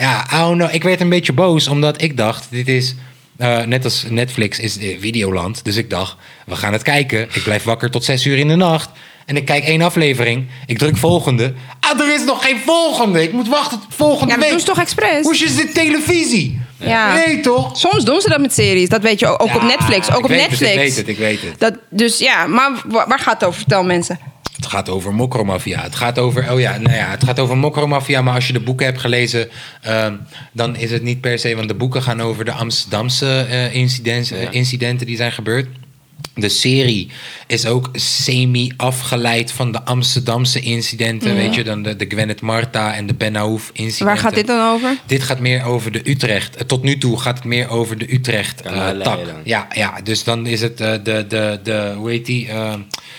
Ja, I don't know. Ik werd een beetje boos omdat ik dacht, dit is... eh, net als Netflix is eh, Videoland. Dus ik dacht, we gaan het kijken. Ik blijf wakker tot zes uur in de nacht. En ik kijk één aflevering. Ik druk volgende. Ah, er is nog geen volgende. Ik moet wachten tot volgende Ja, dat week. doen ze toch expres? Hoe is dit televisie? Ja. Nee, toch? Soms doen ze dat met series. Dat weet je ook, ook Ja, op Netflix. Ook ik op weet het, Netflix. ik weet het, ik weet het. Dat, dus ja, maar wa- waar, gaat het over? Vertel mensen. Het gaat over mokromafia. Het gaat over, oh ja, nou ja, het gaat over mokromafia. Maar als je de boeken hebt gelezen, ehm, dan is het niet per se. Want de boeken gaan over de Amsterdamse eh, incidents, eh, incidenten die zijn gebeurd. De serie is ook semi-afgeleid van de Amsterdamse incidenten. Weet je, dan de, de Gwyneth Marta en de Ben Aouf incidenten. Waar gaat dit dan over? Dit gaat meer over de Utrecht. eh, tot nu toe gaat het meer over de Utrecht eh, Kanalen, tak. ja. Ja, ja, dus dan is het eh, de, de, de, hoe heet die? eh,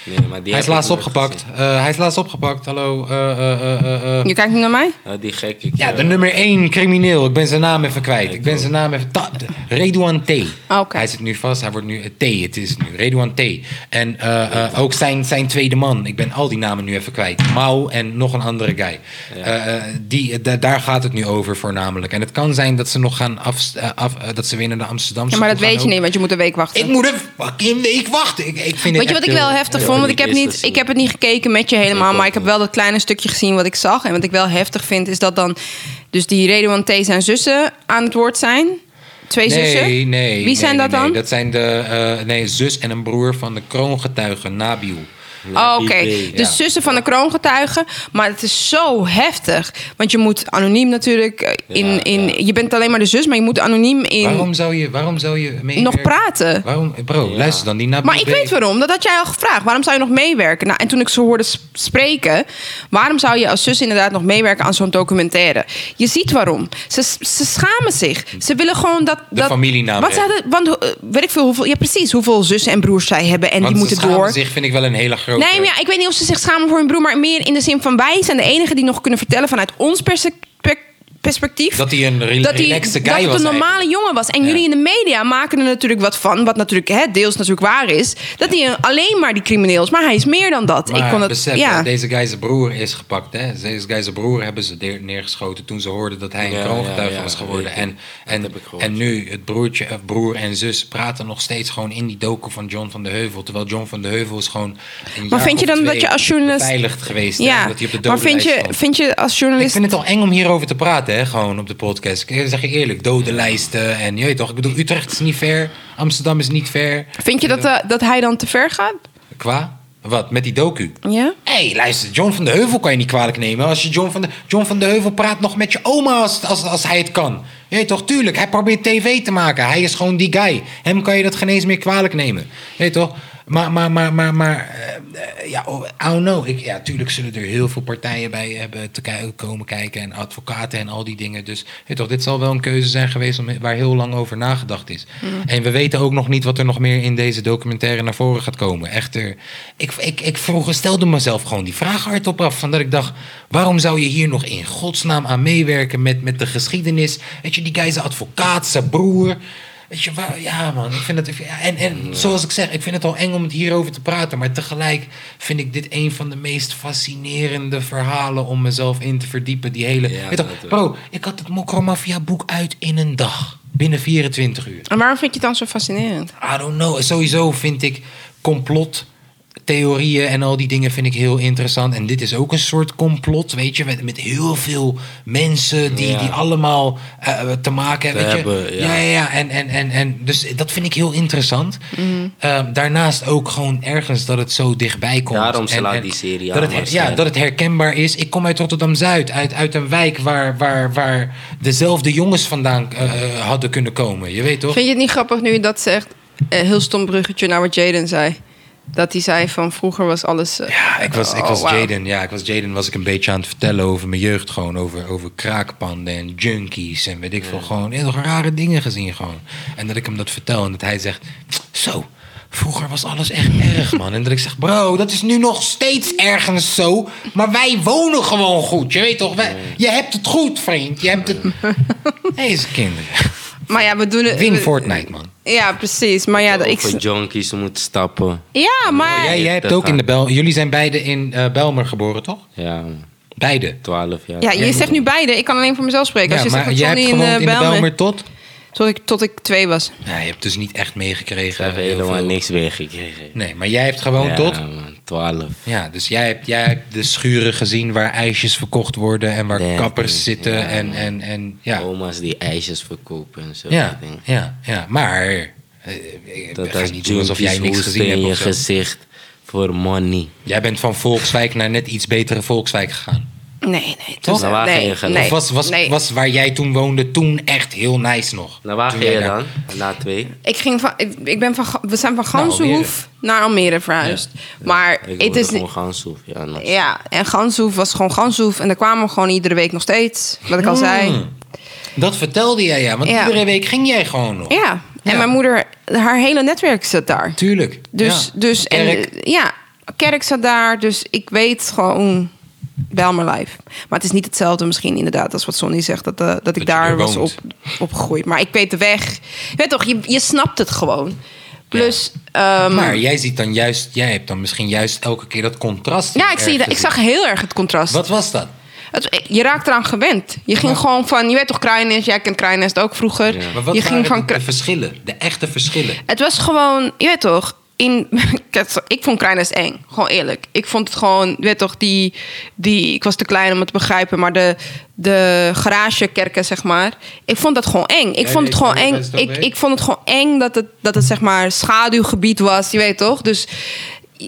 Nee, maar die Hij heb is ik laatst nooit opgepakt. gezien. Eh, hij is laatst opgepakt. Hallo. eh, eh, eh, eh, eh. Je kijkt nu naar mij? Nou, die gek. Ik, Ja, eh, de nummer één crimineel. Ik ben zijn naam even kwijt. Ik ben ook. zijn naam even... Ta- Redouan T. Ah, Oké. Hij zit nu vast. Hij wordt nu... eh, T, het is nu. Redouan T. En eh, eh, ook zijn, zijn tweede man. Ik ben al die namen nu even kwijt. Mau en nog een andere guy. Eh, eh, die, eh, da- daar gaat het nu over voornamelijk. En het kan zijn dat ze nog gaan af... eh, af eh, dat ze weer naar de Amsterdamse... Ja, maar dat toe gaan weet je ook. niet, want je moet een week wachten. Ik moet een fucking week wachten. Ik, ik vind Weet je wat ik wel heftig ja, vond? Want ik ik heb, eerst niet, gezien. ik heb het niet gekeken met je helemaal. ook Maar ik heb niet. wel dat kleine stukje gezien wat ik zag. En wat ik wel heftig vind, is dat dan... Dus die Redouan T. zijn zussen aan het woord zijn. Twee zussen. Nee, nee. Wie nee, zijn nee, dat dan? Nee. Dat zijn de eh, nee, zus en een broer van de kroongetuige Nabil. Oh, Oké, idee, de ja. zussen van de kroongetuigen. Maar het is zo heftig. Want je moet anoniem natuurlijk. eh, In, Ja, in, ja. Je bent alleen maar de zus, maar je moet anoniem in Waarom zou je, waarom zou je meewerken? nog praten. Waarom, bro, Ja. luister dan. Die Nabil Maar ik weet wel. waarom. Dat had jij al gevraagd. Waarom zou je nog meewerken? Nou, en toen ik ze hoorde sp- spreken... waarom zou je als zus inderdaad nog meewerken aan zo'n documentaire? Je ziet waarom. Ze, ze schamen zich. Ze willen gewoon dat... De dat, familienaam Want, ze hebben. hadden, want eh, weet ik veel hoeveel... Ja, precies. Hoeveel zussen en broers zij hebben. En Want die ze moeten schamen door. zich vind ik wel een hele grote... Nee, maar ja, ik weet niet of ze zich schamen voor hun broer... maar meer in de zin van... wij zijn de enigen die nog kunnen vertellen... vanuit ons perse- per- perspectief... Dat hij een re dat hij relaxte guy dat het was een normale eigenlijk. jongen was. En jullie in de media maken er natuurlijk wat van, wat natuurlijk hè, deels natuurlijk waar is, dat hij een- alleen maar die crimineel is, maar hij is meer dan dat. Maar ik kon dat, besef, ja. dat deze guy zijn broer is gepakt. Hè? Deze guy zijn broer hebben ze neer- neergeschoten toen ze hoorden dat hij een Ja, kroongetuige ja, ja, was geworden. weet ik. En, en, heb ik gehoord. en nu, het broertje, eh, broer en zus praten nog steeds gewoon in die docu van John van de Heuvel. Terwijl John van de Heuvel is gewoon een jaar vind je of dan dat twee je als journalist- beveiligd geweest. hè, ja. omdat hij op de maar vind dodenlijst je, stond. vind je als Ik journalist vind het al eng om hierover te praten, hè, gewoon op de podcast. Ik zeg je eerlijk, dode lijsten en je weet toch, ik bedoel, Utrecht is niet ver, Amsterdam is niet ver. vind je dat, eh, dat hij dan te ver gaat? Qua? Wat? Met die docu? Ja. Hé, hey, luister, John van de Heuvel kan je niet kwalijk nemen. Als je John van de, John van de Heuvel praat nog met je oma als, als, als hij het kan. Je weet toch, tuurlijk, hij probeert tv te maken. Hij is gewoon die guy. Hem kan je dat geen eens meer kwalijk nemen. Je weet toch? Maar, maar, maar, maar, maar eh, eh, ja, oh, I don't know. Ik, ja, tuurlijk zullen er heel veel partijen bij hebben te ki- komen kijken. En advocaten en al die dingen. Dus je weet toch, dit zal wel een keuze zijn geweest om, waar heel lang over nagedacht is. En we weten ook nog niet wat er nog meer in deze documentaire naar voren gaat komen. Echter, ik, ik, ik vroeg, stelde mezelf gewoon die vraag hardop af. Van dat ik dacht, waarom zou je hier nog in godsnaam aan meewerken met, met de geschiedenis? Weet je, die guy is een advocaat, zijn broer. Weet je, waar, ja man, ik vind het... ja, En, en zoals ik zeg, ik vind het al eng om het hierover te praten. Maar tegelijk vind ik dit een van de meest fascinerende verhalen... om mezelf in te verdiepen, die hele... Ja, Weet je, dat- bro, ik had het Mokromafia boek uit in een dag. Binnen 24 uur. En waarom vind je het dan zo fascinerend? I don't know. Sowieso vind ik complottheorieën en al die dingen vind ik heel interessant. En dit is ook een soort complot, weet je, met, met heel veel mensen die, Ja. die allemaal eh, te maken hebben. Te weet je. hebben, ja. ja, ja, ja. En, en, en, en dus dat vind ik heel interessant. Eh, daarnaast ook gewoon ergens dat het zo dichtbij komt. Daarom En- slaat en die serie aan, dat het, maar her- Ja, scherp. dat het herkenbaar is. Ik kom uit Rotterdam Zuid, uit, uit een wijk waar, waar, waar dezelfde jongens vandaan eh, eh, hadden kunnen komen. Je weet toch? Vind je het niet grappig nu dat ze echt eh, heel stom bruggetje naar wat Jaden zei? Dat hij zei van vroeger was alles. eh, Ja, ik was, ik oh, was wauw. Jaden. Ja, ik was Jaden. Was ik een beetje aan het vertellen over mijn jeugd. Gewoon over, over kraakpanden en junkies en weet ik veel. Gewoon heel rare dingen gezien gewoon. En dat ik hem dat vertel en dat hij zegt... Zo, vroeger was alles echt erg, man. En dat ik zeg, bro, dat is nu nog steeds ergens zo. Maar wij wonen gewoon goed. Je weet toch, wij- je hebt het goed, vriend. Je hebt het... Deze kinderen. Maar ja, we doen het. Win we- Fortnite, man. Ja, precies. Maar ja, dat- ik. Over junkies moet stappen. Ja, maar. Jij, jij hebt dat ook in gaat. de Bel... Jullie zijn beide in eh, Belmer geboren, toch? Ja, Beide. 12 jaar. Ja, je zegt nu beide. Ik kan alleen voor mezelf spreken. Als je zegt dat jij Johnny hebt in gewoond eh, in de Bijlmer... Belmer tot... Tot ik, tot ik twee was. Ja, je hebt dus niet echt Ik meegekregen. heb heel helemaal veel. niks weggekregen. Nee, maar jij hebt gewoon ja, tot. man, 12. Ja, dus jij hebt, jij hebt de schuren gezien waar ijsjes verkocht worden en waar Ja, kappers ja. zitten en, en, en ja. Oma's die ijsjes verkopen en zo. Ja, die dingen. ja, ja. Maar eh, ik Dat ga als niet doen alsof jij junkies niks hoesten gezien in hebt. je of zo. gezicht voor money. Jij bent van Volkswijk naar net iets betere Volkswijk gegaan. Nee, nee. Toch? toen- Nou, waar ging nee, je gaan? nee, Of was, was, nee. was waar jij toen woonde toen echt heel nice nog? Nou, waar Toen ga je jij daar- dan? Na twee? Ik ging van, ik, ik ben van, Ga- we zijn Nou, van Gansenhoef naar Almere verhuisd. Maar Ik het wilde is gewoon niet... gaan zoeken. Ja, nog- Ja, en Ganshoef was gewoon Ganshoef. En daar kwamen we gewoon iedere week nog steeds. Wat ik al Hmm. zei. Dat vertelde jij ja, want Ja. iedere week ging jij gewoon nog. Ja. En Ja. mijn moeder, haar hele netwerk zit daar. Tuurlijk. Dus, ja. dus en, Kerk. eh, ja. Kerk zat daar, dus ik weet gewoon wel mijn life. Maar het is niet hetzelfde misschien inderdaad als wat Sonny zegt, dat, eh, dat ik je daar er was op, woont. opgegroeid. Maar ik weet de weg. Je weet toch, je, je snapt het gewoon. Plus, ehm, Maar jij ziet dan juist, jij hebt dan misschien juist elke keer dat contrast. ja, ik, zie, erg dat- ik gezien. zag heel erg het contrast. Wat was dat? Het- eh, je raakt eraan gewend. Je ging gewoon van, je weet toch Kruinest, jij kent Kruinest ook vroeger. Maar wat je waren ging van de, Kru- de verschillen, de echte verschillen? Het was gewoon, je weet toch, in, ik had- ik vond Kruinest eng, gewoon eerlijk. Ik vond het gewoon, je weet toch, die, die, ik was te klein om het te begrijpen, maar de, de garagekerken, zeg maar, ik vond dat gewoon eng. Ik Jij vond het weet gewoon waar je eng. best op Ik, weet. ik vond het gewoon eng dat het, dat het, zeg maar, schaduwgebied was, je weet toch? Dus,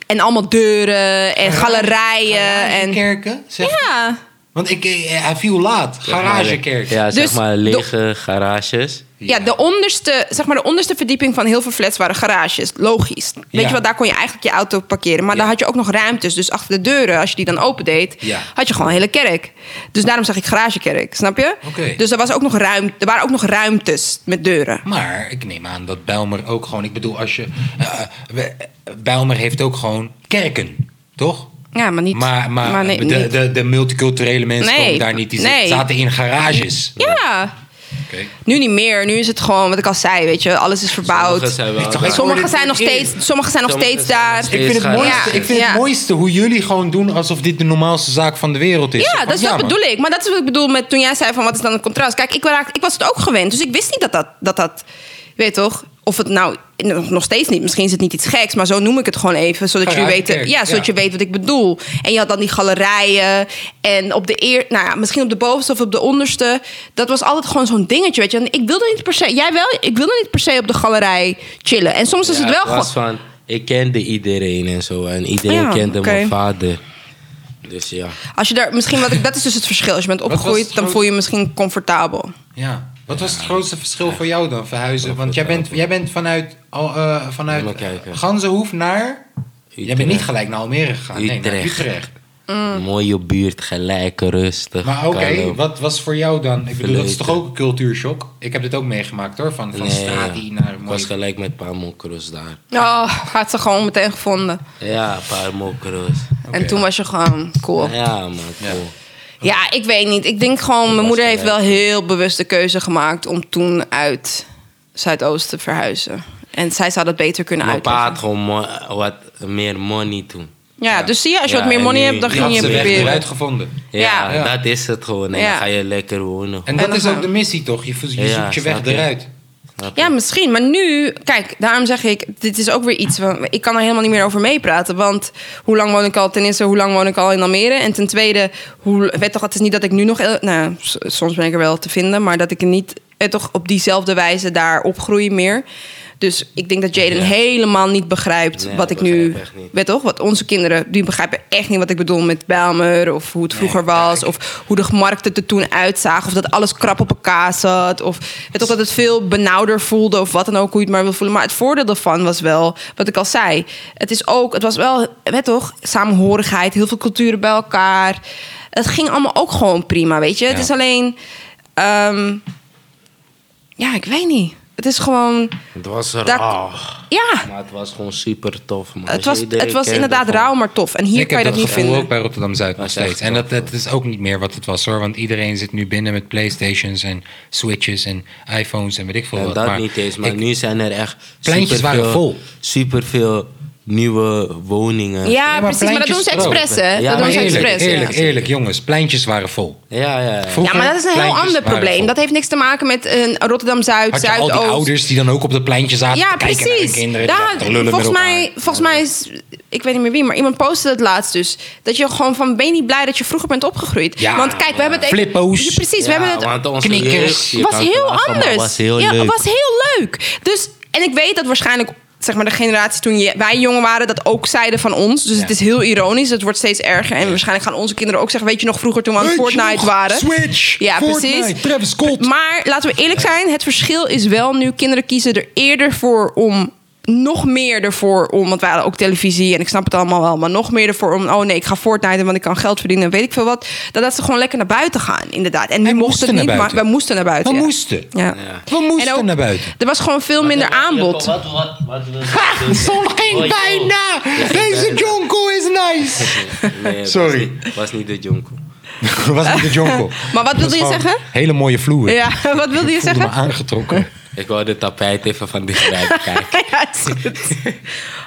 en allemaal deuren en galerijen en... Kerken? Zeg Ja, Want ik, eh, hij viel laat. Garagekerk. Ja, Dus zeg maar de- lege garages. Ja, de onderste, zeg maar de onderste verdieping van heel veel flats waren garages. Logisch. Weet Ja. je wel, daar kon je eigenlijk je auto parkeren. Maar daar had je ook nog ruimtes. Dus achter de deuren, als je die dan opendeed, Ja. had je gewoon een hele kerk. Dus daarom zeg ik garagekerk, snap je? Oké. Dus er, was ook nog ruimte, er waren ook nog ruimtes met deuren. Maar ik neem aan dat Bijlmer ook gewoon... Ik bedoel, als je... eh, eh, we- eh, Bijlmer heeft ook gewoon kerken, toch? Ja, maar niet... Maar, maar, nee, de, niet. de, de multiculturele mensen Nee. komen daar niet. Die zit- Nee. zaten in garages. Ja, Oké. nu niet meer. Nu is het gewoon, wat ik al zei, weet je, alles is verbouwd. Sommigen zijn wel- Sommigen Sommigen zijn nog Eer. steeds, sommigen zijn nog Sommigen steeds zijn nog daar. steeds Ik vind, het Garages. mooiste, ik vind Ja. het mooiste hoe jullie gewoon doen alsof dit de normaalste zaak van de wereld is. Ja, dat is wat dat bedoel ik. Maar dat is wat ik bedoel met toen jij zei van wat is dan het contrast. Kijk, ik, raak, ik was het ook gewend. Dus ik wist niet dat dat, dat dat... Weet toch? Of het nou... nog- Nog steeds niet. Misschien is het niet iets geks. Maar zo noem ik het gewoon even. Zodat, jullie Garagekerk, weten, ja, zodat ja. je weet wat ik bedoel. En je had dan die galerijen. En op de eer... Nou ja, misschien op de bovenste of op de onderste. Dat was altijd gewoon zo'n dingetje, weet je. En ik wilde niet per se... Jij wel? Ik wilde niet per se op de galerij chillen. En soms is Ja, het wel het gewoon... was van, ik kende iedereen en zo. En iedereen Ja, kende oké. mijn vader. Dus ja. Als je daar... Misschien wat ik... Dat is dus het verschil. Als je bent was opgegroeid, het dan groot- voel je je misschien comfortabel. Ja. Wat was het grootste verschil voor jou dan, verhuizen? Want jij bent, jij bent vanuit, al, eh, vanuit Even kijken. Ganzenhoef naar... Jij bent Utrecht. niet gelijk naar Almere gegaan. Nee, naar Utrecht. Utrecht. Mooie buurt, gelijk, rustig. Maar oké, kalm. wat was voor jou dan? Ik bedoel, dat is toch ook Verleten. een cultuurshock? Ik heb dit ook meegemaakt hoor, van, van Nee, straat die naar... ik mooie- was gelijk met Pamokros daar. Oh, had ze gewoon meteen gevonden. Ja, Pamokros. En toen was je gewoon cool. Ja. nou. Ja, man, cool. ik weet niet. Ik denk gewoon, mijn moeder heeft wel heel bewust de keuze gemaakt om toen uit Zuidoost te verhuizen. En zij zou dat beter kunnen Mijn pa had uitleggen. gewoon mo- wat meer money toen. Ja, dus zie je, als je Ja, wat meer en money nu- hebt, dan die ging had je ze weg proberen. eruit gevonden. Ja, Ja. dat is het gewoon. En Ja. dan ga je lekker wonen. En dat dan is gaan ook we. de missie toch? Je, voelt- je Ja, zoekt je weg snap je. eruit. Snap je? Ja, misschien. Maar nu, kijk, daarom zeg ik, dit is ook weer iets. van- Ik kan er helemaal niet meer over meepraten. Want hoe lang woon ik al? Ten eerste, hoe lang woon ik al in Almere? En ten tweede, hoe, weet toch, het is niet dat ik nu nog. el- Nou, s- soms ben ik er wel te vinden, maar dat ik niet eh, toch op diezelfde wijze daar opgroei meer. Dus ik denk dat Jaden Ja. helemaal niet begrijpt Nee, wat ik ik begrijp nu. echt niet. Weet toch? Wat onze kinderen, die begrijpen echt niet wat ik bedoel met Bijlmer. Of hoe het vroeger was. Of hoe de markten er toen uitzagen. Of dat alles krap op elkaar zat. Of weet toch dat het veel benauwder voelde. Of wat dan ook, hoe je het maar wil voelen. Maar het voordeel daarvan was wel, wat ik al zei. Het is ook, het was wel, weet toch? Samenhorigheid, heel veel culturen bij elkaar. Het ging allemaal ook gewoon prima, weet je? Het is alleen. ehm, ja, ik weet niet. Het is gewoon. Het was raar. Daar- Ja, Maar het was gewoon super tof, man. het was, Iedereen het was kende inderdaad gewoon- rauw, maar tof. En hier ik kan heb je dat, niet gevoel vinden. ook bij Rotterdam-Zuid nog Dat Oh, is echt steeds. En dat, wel dat is ook niet meer wat het was hoor. Want iedereen zit nu binnen met Playstations en Switches en iPhones en weet ik veel En wat. dat maar niet eens, maar ik- nu zijn er echt... Pleintjes waren superveel- vol. Superveel nieuwe woningen. Ja, maar precies. Maar dat doen ze pleintjes expres, hè? Ja, dat maar doen ze eerlijk, expres. ja. eerlijk, eerlijk jongens. Pleintjes waren vol. ja, ja. ja. Ja, maar dat is een heel Pleintjes ander waren probleem. vol. Dat heeft niks te maken met een Rotterdam-Zuid, Had je al die Zuidoost. ouders die dan ook op de pleintje zaten Ja, te kijken naar hun precies. kinderen? die Daar, zaten te lullen volgens, met elkaar? mij, volgens mij is, ik weet niet meer wie, maar iemand postte het laatst dus. Dat je gewoon van, ben je niet blij dat je vroeger bent opgegroeid? Ja, Want kijk, we hebben het flippo's. Ja, precies, we Ja, hebben het... want onze knikkers. jeugd, je was kan heel klagen, maar anders. was heel ja, leuk. het was heel leuk. Dus, en ik weet dat waarschijnlijk zeg maar, de generatie toen je- wij jong waren dat ook zeiden van ons. Dus het is heel ironisch. Het wordt steeds erger. En waarschijnlijk gaan onze kinderen ook zeggen... weet je nog vroeger toen we aan Weet je Fortnite nog? waren? Switch, Ja, Fortnite, precies. Travis Scott. Maar laten we eerlijk zijn. Het verschil is wel nu... kinderen kiezen er eerder voor om... Nog meer ervoor om, want wij hadden ook televisie en ik snap het allemaal wel, maar nog meer ervoor om, oh nee, ik ga Fortnite, want ik kan geld verdienen, weet ik veel wat. Dat, dat ze gewoon lekker naar buiten gaan, inderdaad. En nu En mocht moesten het niet, naar maar buiten. wij moesten naar buiten. We ja. moesten. Ja. We moesten En ook- naar buiten. Er was gewoon veel minder aanbod. eh, De zon ging bijna! Deze jonko Nee, het Sorry. Was niet, was niet de jonkel. was niet de jonkel. Maar wat wilde je zeggen? Hele mooie vloer. Ja, wat wilde je Voelde me zeggen? aangetrokken. Ik wou de tapijt even van dichtbij bekijken. Ja, het is goed.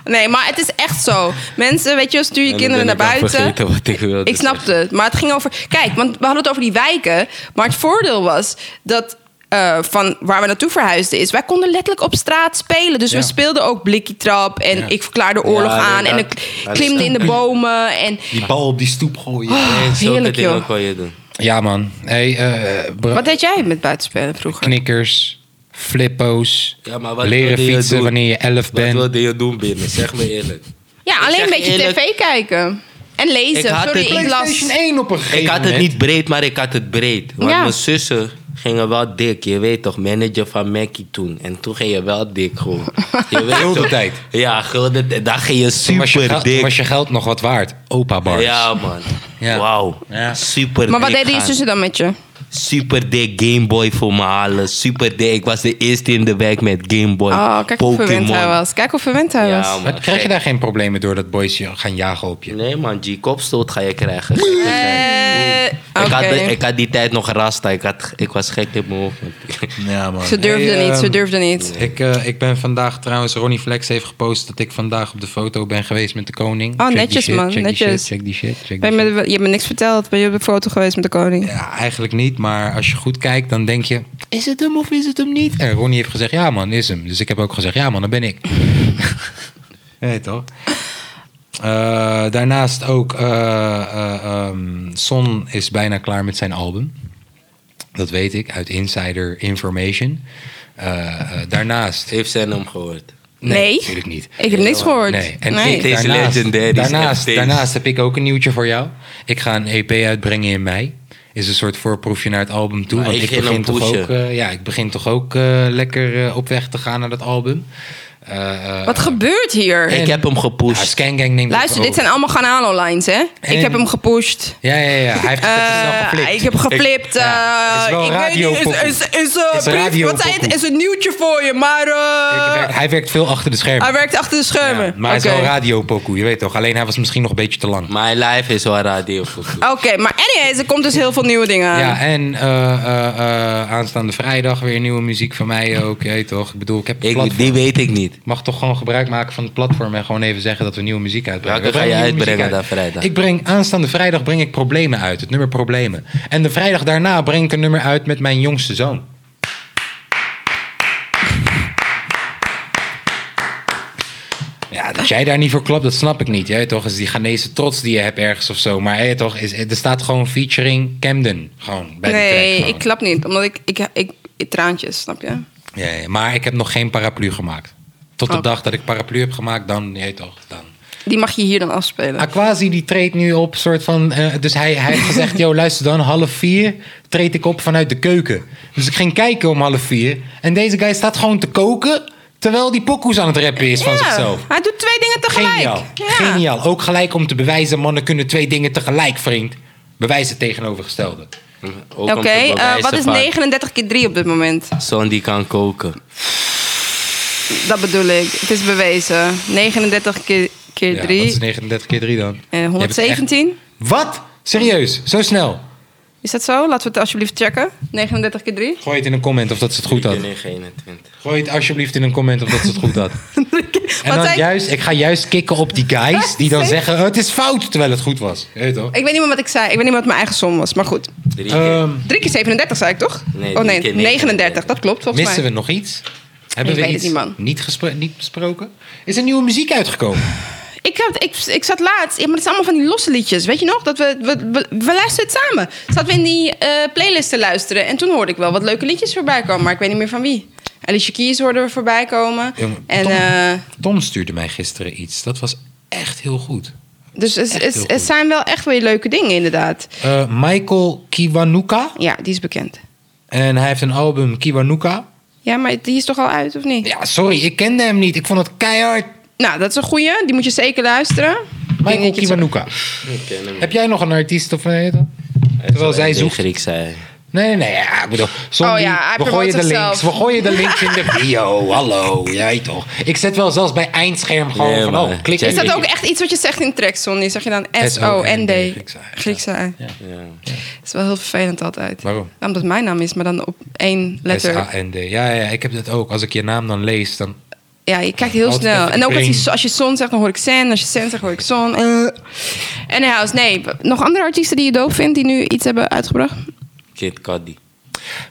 Nee, maar het is echt zo. Mensen, weet je, stuur je En dan kinderen ben naar ik al buiten. vergeten wat ik wilde Ik snapte zeggen. het. Maar het ging over. Kijk, want we hadden het over die wijken. Maar het voordeel was dat. eh, van waar we naartoe verhuisden is. Wij konden letterlijk op straat spelen. Dus we speelden ook blikietrap. En ik verklaarde oorlog Ja, aan. En inderdaad. ik Ja, dus- klimde in de bomen. En Die bal op die stoep gooien. Nee, zulke heerlijk, dingen joh. kon je doen. Ja, man. Hey, eh, bro- wat deed jij met buitenspelen vroeger? knikkers, flippo's, Ja, maar wat leren wilde je fietsen doen? wanneer je elf Wat bent. wilde je doen binnen? Zeg me eerlijk. Ja, alleen een zeg beetje je eerlijk- tv kijken. En Ik lezen. had Sorry, het- ik las. PlayStation 1 op een gegeven Ik had het moment. niet breed, maar ik had het breed. Want Ja. mijn zussen gingen wel dik. Je weet toch, manager van Mackie toen. En toen ging je wel dik gewoon. Je weet Gulden toch? tijd. Ja, gulden tijd. Daar ging je Toen was, je super geld- toen was dik. je geld nog wat waard. Opa bars. Ja, man. Ja. Wauw. Ja. Super Maar wat dik deden je gaan. zussen dan met je? Super dik Game Boy voor me halen. Super dik. Ik was de eerste in de wijk met Game Boy. Oh, kijk hoe verwend hij was. Kijk hoe verwend hij Ja, was. man. Maar krijg je daar geen problemen door dat boys je gaan jagen op je? Nee, man. G-kopstoot ga je krijgen. Eh, Ik, had, oké. ik had die tijd nog rasta. Ik, had, ik was gek in mijn hoofd. Ja, man. Ze durfde Hey, niet, ze ehm, durfde niet. Ik, eh, ik ben vandaag trouwens, Ronnie Flex heeft gepost dat ik vandaag op de foto ben geweest met de koning. Oh, die netjes, shit, man, Check netjes. Die shit, check die shit, check Ben die je, shit. met, je hebt me niks verteld. Ben je op de foto geweest met de koning? Ja, eigenlijk niet, maar als je goed kijkt, dan denk je, is het hem of is het hem niet? En Ronnie heeft gezegd, ja man, is hem. Dus ik heb ook gezegd, ja man, dan ben ik. Nee, toch? Eh, daarnaast ook, eh, eh, ehm, Son is bijna klaar met zijn album. Dat weet ik, uit insider information. Eh, eh, daarnaast... Heeft zijn hem gehoord? Nee. natuurlijk niet. Ik heb niks gehoord. Nee, en Nee. ik Deze daarnaast, legendary is echt daarnaast, steeds- daarnaast heb ik ook een nieuwtje voor jou. Ik ga een EP uitbrengen in mei. Is een soort voorproefje naar het album toe. Maar want ik ik ging begin, hem toch pushen. ook, eh, ja, ik begin toch ook eh, lekker eh, op weg te gaan naar dat album. Eh, eh, Wat gebeurt hier? Ik heb hem ja, gepusht. Skangang neemt Luister, het dit zijn allemaal Ganalo-lines, hè? Ik En- heb hem gepusht. Ja, ja, ja. Hij heeft het Eh, snel geflikt. ik heb geflipt. eh, ja, is wel ik radio weet niet, is, pokoe. is, is, eh, Is brief- radio wat zei het? pokoe. Is een nieuwtje voor je, maar eh, Ik werk- hij werkt veel achter de schermen. hij werkt achter de Ja, schermen. maar hij is Oké. wel radiopokoe, je weet toch. Alleen hij was misschien nog een beetje te lang. My life is wel radio. voor- Oké, maar anyways, er komt dus heel veel nieuwe dingen aan. Ja, en eh, eh, eh, aanstaande vrijdag weer nieuwe muziek van mij ook. Je weet toch? Ik bedoel, ik heb een Ik, platform. die weet ik niet. mag toch gewoon gebruik maken van het platform en gewoon even zeggen dat we nieuwe muziek uitbrengen. Welke We brengen ga je nieuwe muziek uitbrengen uit. dan vrijdag? Ik breng aanstaande vrijdag breng ik problemen uit, het nummer problemen. En de vrijdag daarna breng ik een nummer uit met mijn jongste zoon. Ja, dat jij daar niet voor klopt, dat snap ik niet. Jij weet toch, is die Ghanese trots die je hebt ergens of zo. Maar jij weet toch, is, er staat gewoon featuring Camden. Gewoon bij de track. nee, gewoon. ik klap niet, omdat ik, ik, ik, ik- traantjes, snap je? Ja, ja, maar ik heb nog geen paraplu gemaakt. Tot de Oh. dag dat ik paraplu heb gemaakt, dan, je weet toch, dan. Die mag je hier dan afspelen. Aquasi die treedt nu op, soort van. eh, dus hij, hij heeft gezegd: Yo, luister dan, half vier treed ik op vanuit de keuken. Dus ik ging kijken om half vier. En deze guy staat gewoon te koken. Terwijl die pokoes aan het rappen is van Ja, zichzelf. Hij doet twee dingen tegelijk. Geniaal. Ja. Geniaal. Ook gelijk om te bewijzen: mannen kunnen twee dingen tegelijk, vriend. Bewijzen tegenovergestelde. Ook om Oké, te eh, bewijzen wat is van 39 keer 3 op dit moment? Zo'n die kan koken. Dat bedoel ik. Het is bewezen. 39 keer, keer Ja, dat is 3. 39 keer 3 dan. eh, Je hebt echt- 117. Wat? Serieus? Zo snel? Is dat zo? Laten we het alsjeblieft checken. 39 keer 3. Gooi het in een comment of dat ze het goed had. 21. Gooi het alsjeblieft in een comment of dat ze het goed had. En Wat dan zei- juist, ik ga juist kicken op die guys die dan zeggen: "Oh, het is fout terwijl het goed was. Je Weet toch? Ik weet niet meer wat ik zei. Ik weet niet meer wat mijn eigen som was. Maar goed. Drie keer. Ehm, 3 keer 37 zei ik toch? Nee, oh drie nee, keer 39. 39. Dat klopt volgens missen we mij. nog iets? Hebben Ik we weet iets het niet, man. Niet, gespro- niet besproken? Is er nieuwe muziek uitgekomen? Ik, had, ik, ik zat laatst. Ja, maar het zijn allemaal van die losse liedjes. Weet je nog? Dat we, we, we, we luisterden het samen. Zaten we in die eh, playlist te luisteren. En toen hoorde ik wel wat leuke liedjes voorbij komen. Maar ik weet niet meer van wie. Alicia Keys hoorden we voorbij komen. Jongen, en, Tom, eh, Tom stuurde mij gisteren iets. Dat was echt heel goed. dus het, Echt het- heel het goed. zijn wel echt weer leuke dingen inderdaad. Eh, Michael Kiwanuka. Ja, die is bekend. En hij heeft een album Kiwanuka. Ja, maar die is toch al uit, of niet? Ja, sorry, ik kende hem niet. Ik vond het keihard. Nou, dat is een goeie. Die moet je zeker luisteren. Ik denk Michael dat je het zo- Kiwanuka. Ik ken hem. Heb jij nog een artiest of eh, Hij is Terwijl wel zij echt zoekt. Griek zei. hij. Nee, nee, nee. Ja, ik bedoel, zombie, Oh ja, hij we promoot gooien de zichzelf. links. We gooien de links in de bio. Hallo, jij toch. Ik zet wel zelfs bij eindscherm gewoon Nee, van, maar- oh, klik Is dat hier. ook echt iets wat je zegt in tracks, Sonny? Zeg je dan S-O-N-D? S-O-N-D, Griekse ei. Dat is wel heel vervelend altijd. Waarom? Omdat het mijn naam is, maar dan op één letter. S-A-N-D. Ja, ja, ik heb dat ook. Als ik je naam dan lees, dan... Ja, je kijkt heel Oh, Altijd snel. even En ook als, brain. je, als je son zegt, dan hoor ik sen. Als je sen zegt, hoor ik son. En helaas, nee. Nog andere artiesten die je doof vindt, die nu iets hebben uitgebracht? Kid Cudi.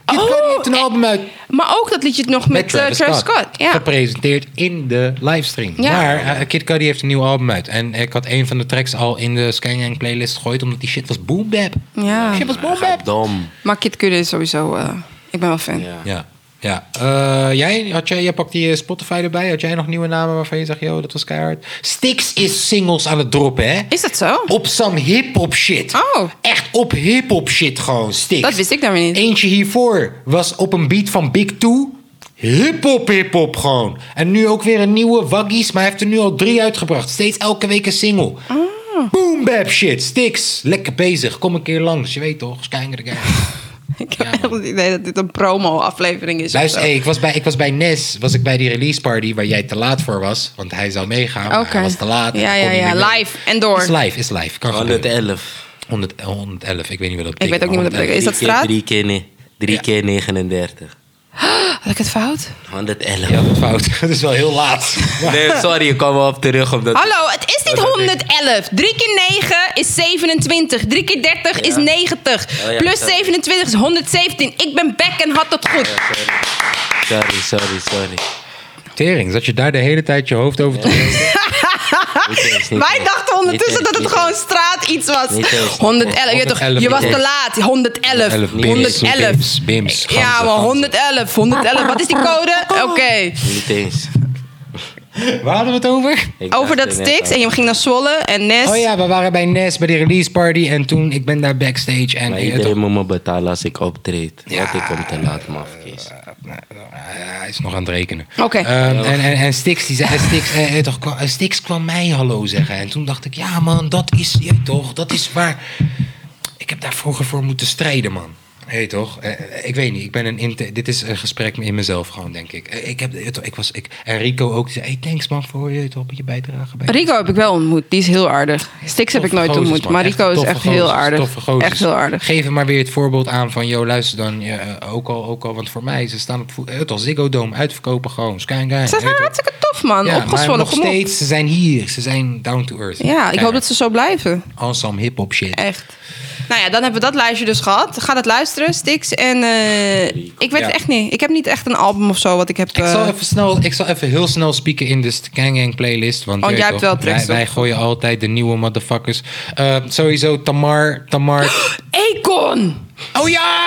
Kid Cudi heeft een eh, album uit Maar ook dat liedje nog met, eh, Travis, Scott. Ja. Gepresenteerd in de livestream. Ja. Maar eh, Kid Cudi heeft een nieuw album uit. En ik had een van de tracks al in de Skygang playlist gegooid... omdat die shit was boom bap. Ja. Shit was boom Gaat bap. dom. Maar Kid Cudi is sowieso... eh, ik ben wel fan. Ja. Ja. Ja, Eh, jij, had jij, jij pakt die eh, Spotify erbij. Had jij nog nieuwe namen waarvan je zegt, yo, dat was keihard. Stix is singles aan het droppen, hè? Is dat zo? Op some hip-hop shit. Oh. Echt op hip-hop shit gewoon, Stix. Dat wist ik dan weer niet. Eentje hiervoor was op een beat van Big Two. Hip-hop, hip-hop gewoon. En nu ook weer een nieuwe Waggies, maar hij heeft er nu al drie uitgebracht. Steeds elke week een single. Ah. Boom bap shit, Stix. Lekker bezig, kom een keer langs. Je weet toch, Skynger de Guy. Ik heb echt het idee dat dit een promo-aflevering is. of Luister, zo. hey, ik, was bij, ik was bij Nes, was ik bij die release party waar jij te laat voor was. Want hij zou meegaan, maar Oké. hij was te laat. en Ja, hij kon ja, niet ja. meer mee. Live en door. Is live, is live. Kan gebeuren. 111. 100, 111, ik weet niet wat dat betekent. Ik weet ook niet wat dat betekent. Is dat Drie keer- straat? Drie keer, ne- drie Ja. keer 39. Had ik het fout? 111. Ja, dat fout. dat is wel heel laat. Nee, sorry, ik kwam wel op terug. Omdat Hallo, het is niet 111. 3 keer 9 is 27. 3 keer 30 is 90. Oh ja, Plus sorry. 27 is 117. Ik ben back en had dat goed. Sorry, sorry, sorry. Tering, zat je daar de hele tijd je hoofd over te Niet eens, niet Wij eens. dachten ondertussen Niet eens, dat het niet gewoon eens. straat iets was. Niet eens. 111. Je, weet toch, 111, je was te niet laat. 111. 111, bims, 111. bims, bims, Ja, ganzen, maar ganzen. 111. 111. Wat is die code? Oké. Niet eens. Waar hadden we het over? Ik Over dat dacht er net Stix. aan. En je ging naar Zwolle en Nes. Oh ja, we waren bij Nes bij die release party. En toen, ik ben daar backstage. En Maar eh, iedereen toch- moet me betalen als ik optreed. Want ik kom te laat, mafkees. Eh, hij is nog aan het rekenen. Oké. Ehm, en, en, en Stix, die zei, en Stix, eh, eh, toch, kwam- eh, Stix kwam mij hallo zeggen. En toen dacht ik, ja man, dat is, je weet toch, dat is waar. Ik heb daar vroeger voor moeten strijden, man. Hé toch? Eh, eh, ik weet niet. Ik ben een inte- dit is een gesprek in mezelf gewoon, denk ik. Eh, ik, heb, eh, toch, ik was, ik, en Rico ook. die zei, hey, thanks man voor je, toch, je bijdrage. Bij Rico heb ik wel ontmoet. Die is heel aardig. Stix heb ik nooit Toffe ontmoet. gozers, Maar man. Rico is toffe echt heel gozers, aardig. toffe gozers. Echt heel aardig. Geef hem maar weer het voorbeeld aan van... joh, luister dan, je, eh, ook al, ook al. Want voor mij, ze staan op voet- eh, het al Ziggo Dome, uitverkopen gewoon. Sky and Guy. Ze zijn hartstikke tof, man. Ja, maar Opgezwollen nog gemoed. steeds, ze zijn hier. Ze zijn down to earth. Ja, ik hoop dat ze zo blijven. Ensemble hip-hop shit. Echt. Nou ja, dan hebben we dat lijstje dus gehad. Ga dat luisteren, Stix. En eh, ik weet Ja. het echt niet. Ik heb niet echt een album of zo wat ik heb... Ik eh, zal, even snel, ik zal even heel snel spieken in de Gang Gang playlist. Want Oh, je jij weet hebt toch, wel tracks wij, wij gooien altijd de nieuwe motherfuckers. Eh, sowieso Tamar. Tamar. Akon! Oh ja!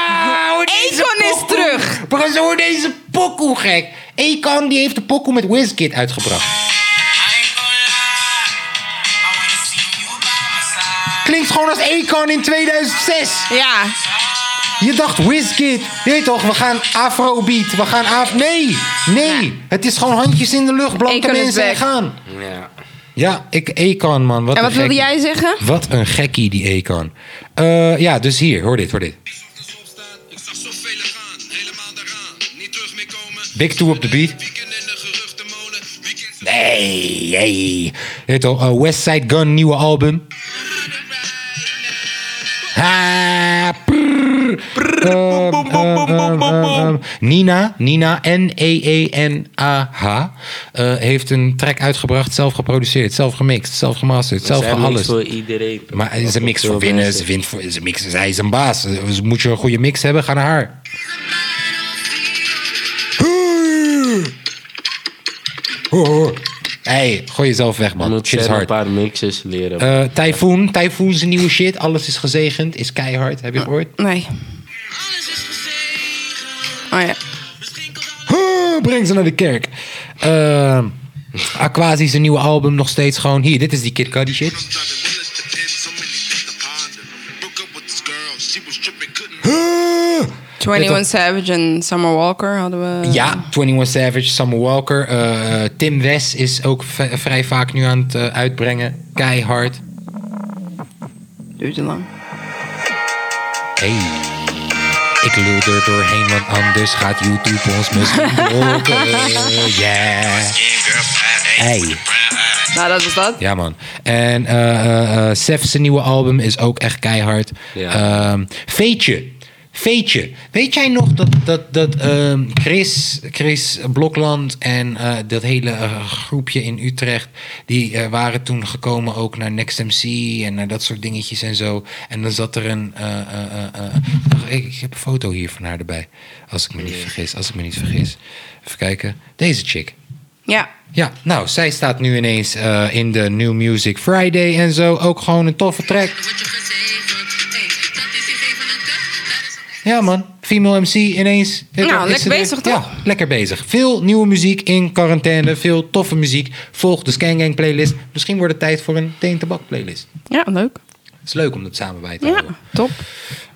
hoor deze Akon is pokoe. terug. Bro, hoor deze pokoe gek. Akon die heeft de pokoe met Wizkid uitgebracht. Klinkt gewoon als Akon in 2006. Ja. Je dacht Wizkid. Je weet toch, we gaan afrobeat. We gaan af... Nee, nee. Het is gewoon handjes in de lucht. Blanke Akon is mensen en back. gaan. Ja. Ja, ik Akon man. Wat En wat een wilde gekkie. jij zeggen? Wat een gekkie die Akon. Eh, ja, dus hier. Hoor dit, hoor dit. Ik zag zoveel gaan, helemaal daaraan. Niet terug meer komen. Big Two op de beat. Weekend in de geruchtenmolen. Weekend zijn Hey, hey. Heet al eh, West Side Gun, nieuwe album. Ha, prrr. Ehm, ehm, ehm, ehm, ehm. Nina, Nina, E N-E-E-N-A-H, eh, heeft een track uitgebracht, zelf geproduceerd, zelf gemixt, zelf gemasterd, zelf Zij mix alles. voor iedereen. Maar ze is een mix Ook voor veel winnen, mensen. ze wint voor, ze mixen, zij is een baas. Dus moet je een goede mix hebben, ga naar haar. Hoor, hoor. Hey, gooi jezelf weg, Je man. moet Shit is zelf een hard. paar mixes leren. Eh typhoon, Typhoon zijn nieuwe shit. Alles is gezegend, is keihard. Heb je gehoord? Nee. Alles is gezegend. Oh ja. Misschien komt alles. Huh, breng ze naar de kerk. Eh, Aquasi zijn nieuwe album nog steeds gewoon. Hier, dit is die Kid Cudi shit. I'm driving well at the end, so many things to ponder. Broke up with this girl, she was tripping, couldn't. Huh. 21 Savage en Summer Walker hadden we... Ja, 21 Savage, Summer Walker. eh, Tim West is ook v- vrij vaak nu aan het eh, uitbrengen. Keihard. Duurde lang. Hey. Ik lul er doorheen, want anders gaat YouTube ons misschien blokken. Yeah. Hey. Nou, dat was dat. Ja, man. En eh eh, eh, Sef, zijn nieuwe album is ook echt keihard. Ja. Ehm, Veetje. Veetje. Weet jij nog dat, dat, dat ehm, Chris, Chris Blokland en eh, dat hele eh, groepje in Utrecht... die eh, waren toen gekomen ook naar Next MC en naar dat soort dingetjes en zo. En dan zat er een... eh, eh, eh, eh, wacht, ik, ik heb een foto hier van haar erbij. Als ik me niet vergis. Als ik me niet vergis. Even kijken. Deze chick. Ja. Ja, nou, zij staat nu ineens eh, in de New Music Friday en zo. Ook gewoon een toffe track. Ja, man. Female MC ineens. Nou, Is lekker er- bezig, Ja, toch? lekker bezig. Veel nieuwe muziek in quarantaine. Veel toffe muziek. Volg de Scangang playlist. Misschien wordt het tijd voor een Teen Tabak playlist. Ja, leuk. Het is leuk om dat samen bij te Ja, houden. top.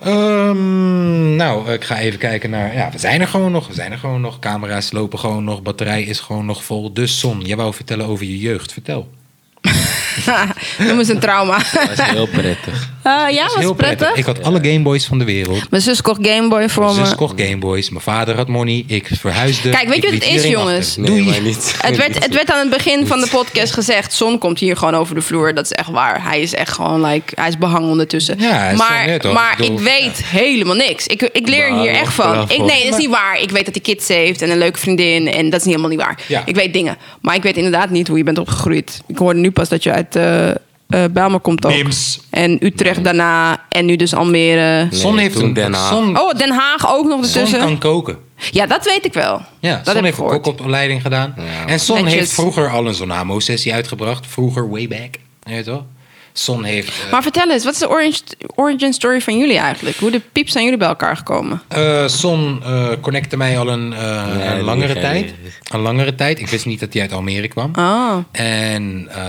Ehm, nou, ik ga even kijken naar. Ja, we zijn er gewoon nog. We zijn er gewoon nog. Camera's lopen gewoon nog. Batterij is gewoon nog vol. Dus Son, jij wou vertellen over je jeugd. Vertel. Noem eens een trauma. Dat was heel prettig. Eh, ja, Heel was prettig. Ik had alle Gameboys van de wereld. Mijn zus kocht Gameboy voor Mijn zus me. kocht Gameboys. Mijn vader had money. Ik verhuisde. Kijk, weet je Ik wat liet het is, iedereen jongens? achter. Nee, Doei. maar niet. Het werd, het werd aan het begin van de podcast gezegd: Son komt hier gewoon over de vloer. Dat is echt waar. Hij is echt gewoon, like, hij is behang ondertussen. Ja, hij is maar gewoon net, hoor. maar Ik bedoel, ik weet helemaal niks. Ik, ik leer Maar hier echt van. achteraf Ik, wel. nee, dat is niet waar. Ik weet dat hij kids heeft en een leuke vriendin. En dat is niet helemaal niet waar. Ja. Ik weet dingen. Maar ik weet inderdaad niet hoe je bent opgegroeid. Ik hoorde nu pas dat je uit eh eh, Bijlmer komt ook. Nims. En Utrecht daarna. En nu dus Almere. Son Nee, heeft toen een Den Haag. Son, Oh, Den Haag ook Son nog ertussen. kan koken. Ja, dat weet ik wel. Ja, dat Son heb ik heeft een gehoord. kokopleiding gedaan. En Son Netjes. heeft vroeger al een Zonamo-sessie uitgebracht. Vroeger, way back. Je weet wel? Son heeft... eh, Maar vertel eens, wat is de orange, origin story van jullie eigenlijk? Hoe de pieps zijn jullie bij elkaar gekomen? Eh, Son eh, connecte mij al een, eh, Nee, een die langere ken tijd. je. Een langere tijd. Ik wist niet dat hij uit Almere kwam. Oh. Ah. En eh,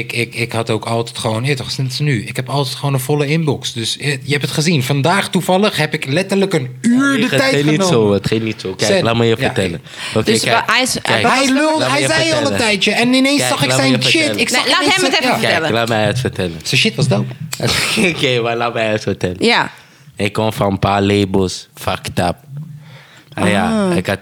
ik, ik, ik had ook altijd gewoon, ja, toch sinds nu, ik heb altijd gewoon een volle inbox. Dus eh, je hebt het gezien. Vandaag toevallig heb ik letterlijk een uur de het tijd ging genomen. niet zo, eh, het ging niet zo. Kijk, Zet. laat me je Ja, vertellen. Oké, Dus kijk, wa- hij is- kijk. dat was- Hij lulde, Laat me hij je zei al een vertellen. tijdje. En ineens Kijk, zag ik laat me zijn je shit. vertellen. Ik zag Nee, laat ineens hem het zijn- even ja. Kijk, vertellen. laat mij het vertellen. Zijn shit was dope. Oké, maar laat mij het vertellen. Ja. Ik kwam van een paar labels, fucked up. Ah, Ja, ik had...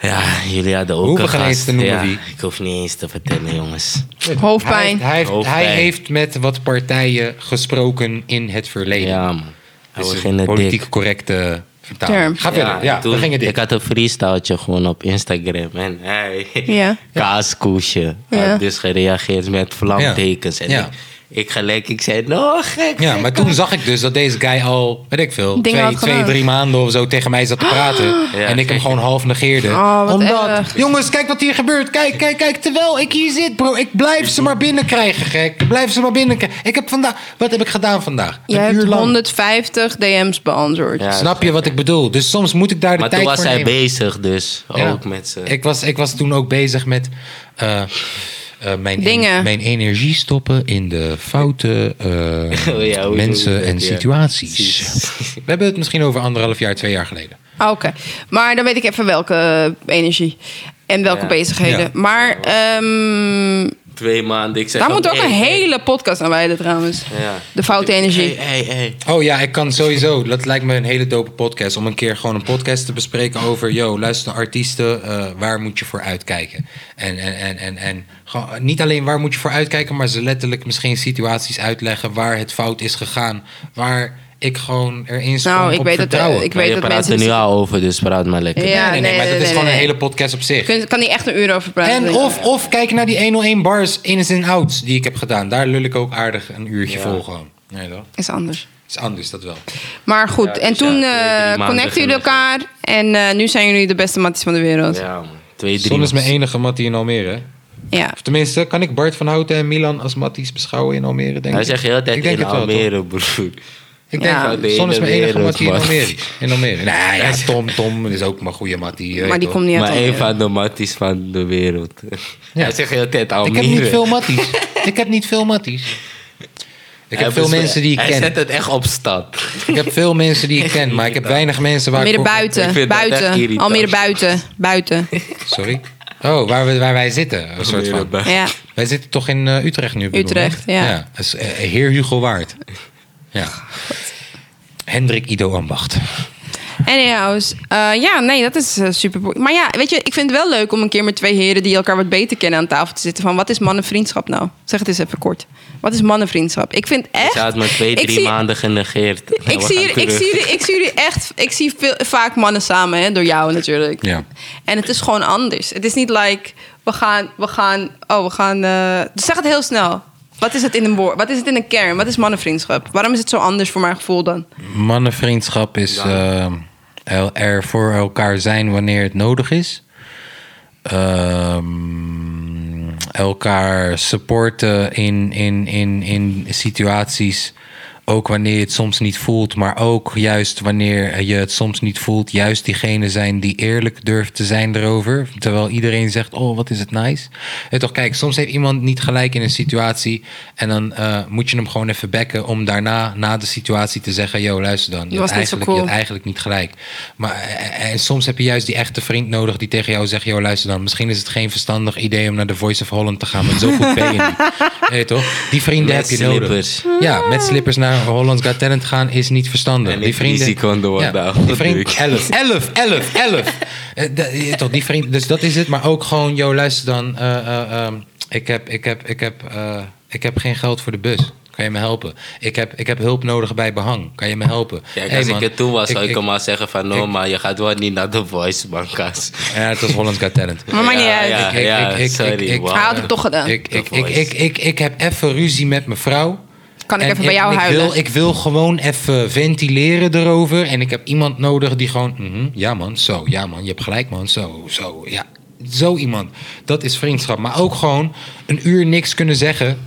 Ja, jullie hadden ook We hoeven een geen gast. eens te noemen ja, wie. Ik hoef niet eens te vertellen, jongens. Hoofdpijn. Hij, heeft- hij heeft, hij Hoofdpijn. heeft met wat partijen gesproken in het verleden. Ja, man. Dat Hij is was een geen eh, politiek dik. correcte vertaling. Term. Ga verder. Ja, en toen- we gingen dik. Ik had een freestyletje gewoon op Instagram. En hij, Ja. kaaskoesje, Ja. had dus gereageerd met vlamtekens. En Ja. ik, ik gelijk, ik zei, no, gek. Ja, gek, maar toen zag ik dus dat deze guy al, weet ik veel, Dingen twee, had twee, gedaan. drie maanden of zo tegen mij zat te praten. en ik hem zeker. gewoon half negeerde. Oh, wat omdat, erg. jongens, kijk wat hier gebeurt. Kijk, kijk, kijk, terwijl ik hier zit, bro. Ik blijf ze maar binnenkrijgen, gek. Ik blijf ze maar binnenkrijgen. Ik heb vandaag, wat heb ik gedaan vandaag? Jij een uur hebt lang. 150 DM's beantwoord. Ja. Snap je wat ik bedoel? Dus soms moet ik daar de Maar toen tijd was voor hij nemen. bezig dus, Ja. ook met zijn... Ik was, ik was toen ook bezig met eh, eh, mijn, Dingen. en- mijn energie stoppen in de foute eh, Oh hoe je het mensen en doet, ja. situaties. We hebben het misschien over anderhalf jaar, twee jaar geleden. Ah, Oké. Maar dan weet ik even welke energie en welke Ja. bezigheden. Ja. Maar ehm, Twee maanden, ik zeg... daar hem, moet ook hey, een hey. hele podcast aan wijden trouwens. Ja. De foute energie. Hey, hey, hey. Oh ja, ik kan sowieso. Dat lijkt me een hele dope podcast. Om een keer gewoon een podcast te bespreken over... yo, luister naar artiesten, eh, waar moet je voor uitkijken? En, en, en, en, en gewoon, eh, niet alleen waar moet je voor uitkijken... maar ze letterlijk misschien situaties uitleggen... waar het fout is gegaan. Waar ik gewoon erin sprong Nou, ik op weet dat, eh, vertrouwen. ik Maar weet je dat praat mensen... er nu al over, dus praat maar lekker. Ja. nee, nee, nee, nee, maar dat nee, is nee, gewoon een nee. hele podcast op zich. Kun- kan die echt een uur over praten? En denk ik. of, of kijk naar die 101 bars in en outs die ik heb gedaan. Daar lul ik ook aardig een uurtje vol gewoon. Nee, dat Is anders. is anders, dat wel. Maar goed, en dus toen ja, twee, drie eh, maanden connecten jullie geweest. elkaar. En eh, nu zijn jullie de beste matties van de wereld. Ja. Ja, man. Twee, drie. Zon is man. mijn enige mattie in Almere. hè? Of tenminste, kan ik Bart van Houten en Milan als matties beschouwen in Almere, denk Hij ik? zegt heel de tijd Ik denk in het wel, Almere, broer. Ik Ja. denk dat Zon is mijn De hele enige mattie in wereld, man. Almere. In Almere. Nou ja, Tom, Tom is ook mijn goede mattie. weet maar die toch? komt niet uit maar Almere. een van de matties van de wereld. Hij zegt heel de tijd Ik Almere. heb niet veel matties. ik heb niet veel matties. Ik Hij heb veel bes- mensen die ik dus- Hij zet ken. het echt op stad. Ik heb veel mensen die ik ken, maar ik heb weinig mensen waar ik... Almere voor- Ik buiten, vind dat echt buiten, irritant. Almere buiten, buiten. Sorry. Oh, waar, we, waar wij zitten. Een soort van. Ja, Wij zitten toch in eh, Utrecht nu? bedoel ik? Utrecht, ja. dat is, eh, Heer Hugo Waard. Ja. Hendrik Ido Ambacht. Anyhow, eh, ja, nee, dat is eh, super. boe- Maar ja, weet je, ik vind het wel leuk om een keer met twee heren die elkaar wat beter kennen aan tafel te zitten. Van wat is mannenvriendschap nou? Zeg het eens even kort. Wat is mannenvriendschap? Ik vind echt. Ze had me twee, ik drie zie- maanden genegeerd. Ik We zie, gaan jullie- ik, terug. zie, jullie- ik zie jullie echt. Ik zie veel, vaak mannen samen, hè, door jou natuurlijk. Ja. En het is gewoon anders. Het is niet like we gaan, we gaan, oh, we gaan. eh, dus zeg het heel snel. Wat is het in een woord? Wat is het in een kern? Wat is mannenvriendschap? Waarom is het zo anders voor mijn gevoel dan? Mannenvriendschap is ehm, el- er voor elkaar zijn wanneer het nodig is. Ehm, elkaar supporten in, in, in, in situaties. Ook wanneer je het soms niet voelt, maar ook juist wanneer je het soms niet voelt, juist diegene zijn die eerlijk durft te zijn erover. Terwijl iedereen zegt: Oh, wat is het nice. En toch, kijk, soms heeft iemand niet gelijk in een situatie. En dan eh, moet je hem gewoon even bekken om daarna, na de situatie, te zeggen: Yo, luister dan. Je, was had niet zo eigenlijk, cool. je had eigenlijk niet gelijk. Maar eh, en soms heb je juist die echte vriend nodig die tegen jou zegt: Yo, luister dan. Misschien is het geen verstandig idee om naar de Voice of Holland te gaan, want zo goed ben je niet. Hey, toch? Die vrienden Met heb je nodig. slippers. Ja, met slippers naar Holland's Got Talent gaan is niet verstandig. En die ik vrienden. risico aan de ja, wandel. die vriend, Natuurlijk. 11, 11, 11, 11. Eh, dat- eh, Toch, die vriend. Dus dat is het. Maar ook gewoon, yo, luister dan. eh, eh, ehm, ik, heb, ik, heb, ik, heb, eh, ik heb geen geld voor de bus. Kan je me helpen? Ik heb, ik heb hulp nodig bij behang. Kan je me helpen? Kijk, Hey, als man, ik er toe was, zou ik, ik- hem al zeggen van... No, ik- maar je gaat wel niet naar de voice, bankas. Ja, het was Holland's Got Talent. Maar maakt niet Ja, uit. Ik- ja. ik- ik- ik- sorry, ik- wauw. Hij had het toch gedaan. Ik, The ik, ik, Voice. ik, ik, ik heb even ruzie met mijn vrouw. Kan ik En even bij jou ik huilen? Wil, ik wil gewoon even ventileren erover. En ik heb iemand nodig die gewoon... mhm, ja man, zo. Ja man, je hebt gelijk man. Zo, zo, ja. Zo iemand. Dat is vriendschap. Maar ook gewoon een uur niks kunnen zeggen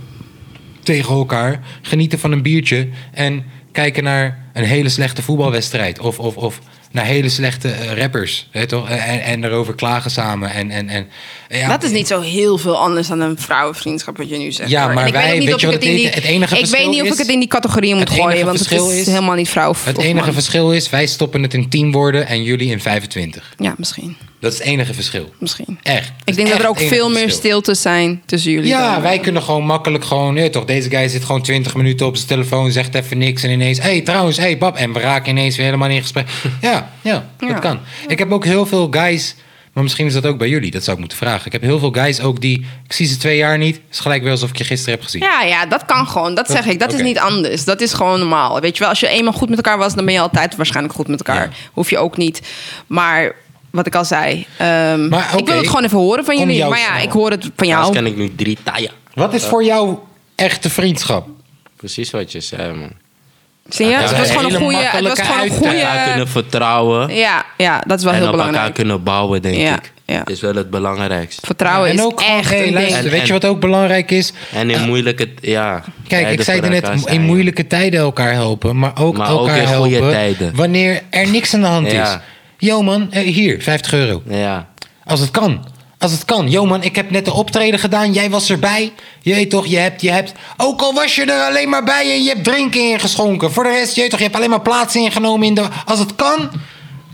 tegen elkaar. Genieten van een biertje. En kijken naar een hele slechte voetbalwedstrijd. Of, of, of naar hele slechte eh, rappers. Hè, toch? En, en erover klagen samen. En, en, en, ja, dat is niet zo heel veel anders dan een vrouwenvriendschap wat je nu zegt. Ja, hoor. En maar ik wij- weet ook niet weet of je ik wat het in het die, enige- het enige ik weet verschil niet of ik is- het in die categorieën moet Het enige gooien, want het verschil is, is- helemaal niet vrouw. of- Het of enige man. verschil is, wij stoppen het in 10 woorden en jullie in 25. Ja, misschien, Dat is het enige verschil. misschien. Echt. Ik denk dat er ook veel meer stil. stilte zijn tussen jullie. Ja, dan. wij kunnen gewoon makkelijk gewoon... Nee, toch, deze guy zit gewoon 20 minuten op zijn telefoon, zegt even niks... en ineens, hé, hey, trouwens, hé, hey, bab... en we raken ineens weer helemaal niet in gesprek. Ja, ja, Ja. dat kan. Ik heb ook heel veel guys... maar misschien is dat ook bij jullie, dat zou ik moeten vragen. Ik heb heel veel guys ook die... ik zie ze twee jaar niet, is gelijk weer alsof ik je gisteren heb gezien. Ja, ja, dat kan gewoon. Dat zeg ik. Dat oké. is niet anders. Dat is gewoon normaal. Weet je wel, als je eenmaal goed met elkaar was, dan ben je altijd waarschijnlijk goed met elkaar. Ja. Hoef je ook niet. Maar wat ik al zei, ehm, Maar ik wil oké, het gewoon even horen van om jullie. jou Maar ja, snel. ik hoor het van Anders jou. kan ik nu drie taaien. Wat is voor jou echte vriendschap? Precies wat je zei, man. Zie je? Ja, Het dat was is gewoon een een hele goede. Het was makkelijke gewoon een Elkaar goede. kunnen vertrouwen. Ja, ja, dat is wel en heel op elkaar belangrijk. kunnen bouwen, denk Ja, ik. ja. Dat is wel het belangrijkste. Vertrouwen en is ook gewoon, echt hey, een luister, ding. weet je wat ook belangrijk is? En in moeilijke... Ja, Kijk, ik tijden zei voor het net, elkaar zijn. in moeilijke tijden elkaar helpen, maar ook Maar ook elkaar in helpen goede tijden. wanneer er niks aan de hand Ja. is. Yo man, eh, hier, 50 euro. Ja. Als het kan. Als het kan. Yo man, ik heb net de optreden gedaan, jij was erbij. Je weet toch, je hebt, je hebt, ook al was je er alleen maar bij en je hebt drinken ingeschonken. Voor de rest, je weet toch, je hebt alleen maar plaats ingenomen in de... Als het kan,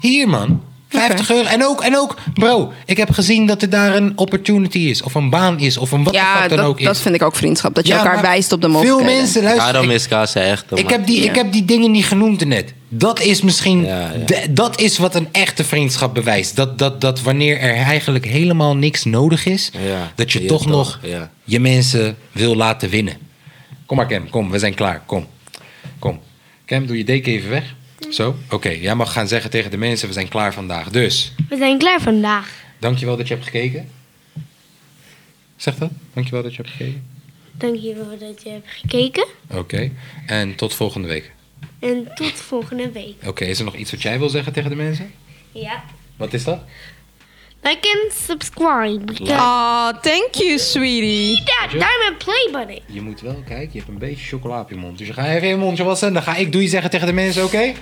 hier man. 50 euro. En ook, en ook, bro, ik heb gezien dat er daar een opportunity is. Of een baan is. Of een wat de Ja, fuck dan ook dat, is. dat vind ik ook vriendschap. Dat je Ja, elkaar maar wijst op de Veel mogelijkheden. mensen luisteren. Daarom ik- is Kasa echt, ik heb, die, Ja. ik heb die dingen niet genoemd net. Dat is misschien. Ja, ja. de- dat is wat een echte vriendschap bewijst. Dat, dat, dat wanneer er eigenlijk helemaal niks nodig is, Ja, dat je je toch toch, nog ja. je mensen wil laten winnen. Kom maar, Cam, kom, we zijn klaar. Kom. Kom. Cam, doe je deken even weg. Zo, oké. Jij mag gaan zeggen tegen de mensen: we zijn klaar vandaag. Dus, We zijn klaar vandaag. dankjewel dat je hebt gekeken. Zeg dat? Dankjewel dat je hebt gekeken. Dankjewel dat je hebt gekeken. Oké. En tot volgende week. En tot volgende week. Oké, is er nog iets wat jij wil zeggen tegen de mensen? Ja. Wat is dat? Like en subscribe. Because Oh, thank you, sweetie. that diamond play button. Je moet wel kijken, je hebt een beetje chocola op je mond. Dus je gaat even je mondje wassen. Dan ga ik doei zeggen tegen de mensen, oké?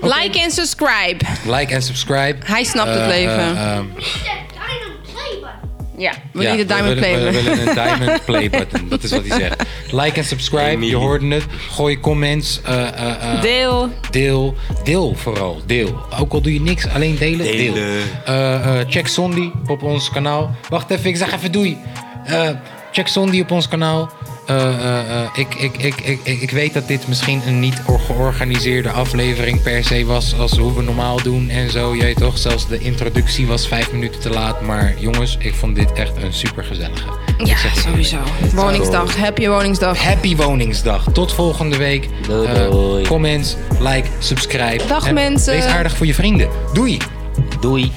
Like en subscribe. Like en subscribe. Hij snapt Eh, het leven. eh, ehm, That diamond play button. ja, we ja, willen de diamond we willen- play. We willen een diamond play button. Dat is wat hij zegt. Like en subscribe. Je hoorde het. Gooi comments. eh, eh, eh, Deel. Deel. Deel vooral. Deel. Ook al doe je niks, alleen delen. Deel. Delen. Eh, eh, check Sondi op ons kanaal. Wacht even, ik zeg even doei. Eh, check Sondi op ons kanaal. eh, eh, eh, ik, ik, ik, ik, ik, ik weet dat dit misschien een niet or- georganiseerde aflevering per se was. Als hoe we normaal doen en zo. Jij toch? Zelfs de introductie was vijf minuten te laat. Maar jongens, ik vond dit echt een supergezellige. Ik zeg Ja, het sowieso. Woningsdag. Happy Woningsdag. Happy Woningsdag. Tot volgende week. Doei, Eh, doei. comments, like, subscribe. Dag, En mensen. Wees aardig voor je vrienden. Doei. Doei.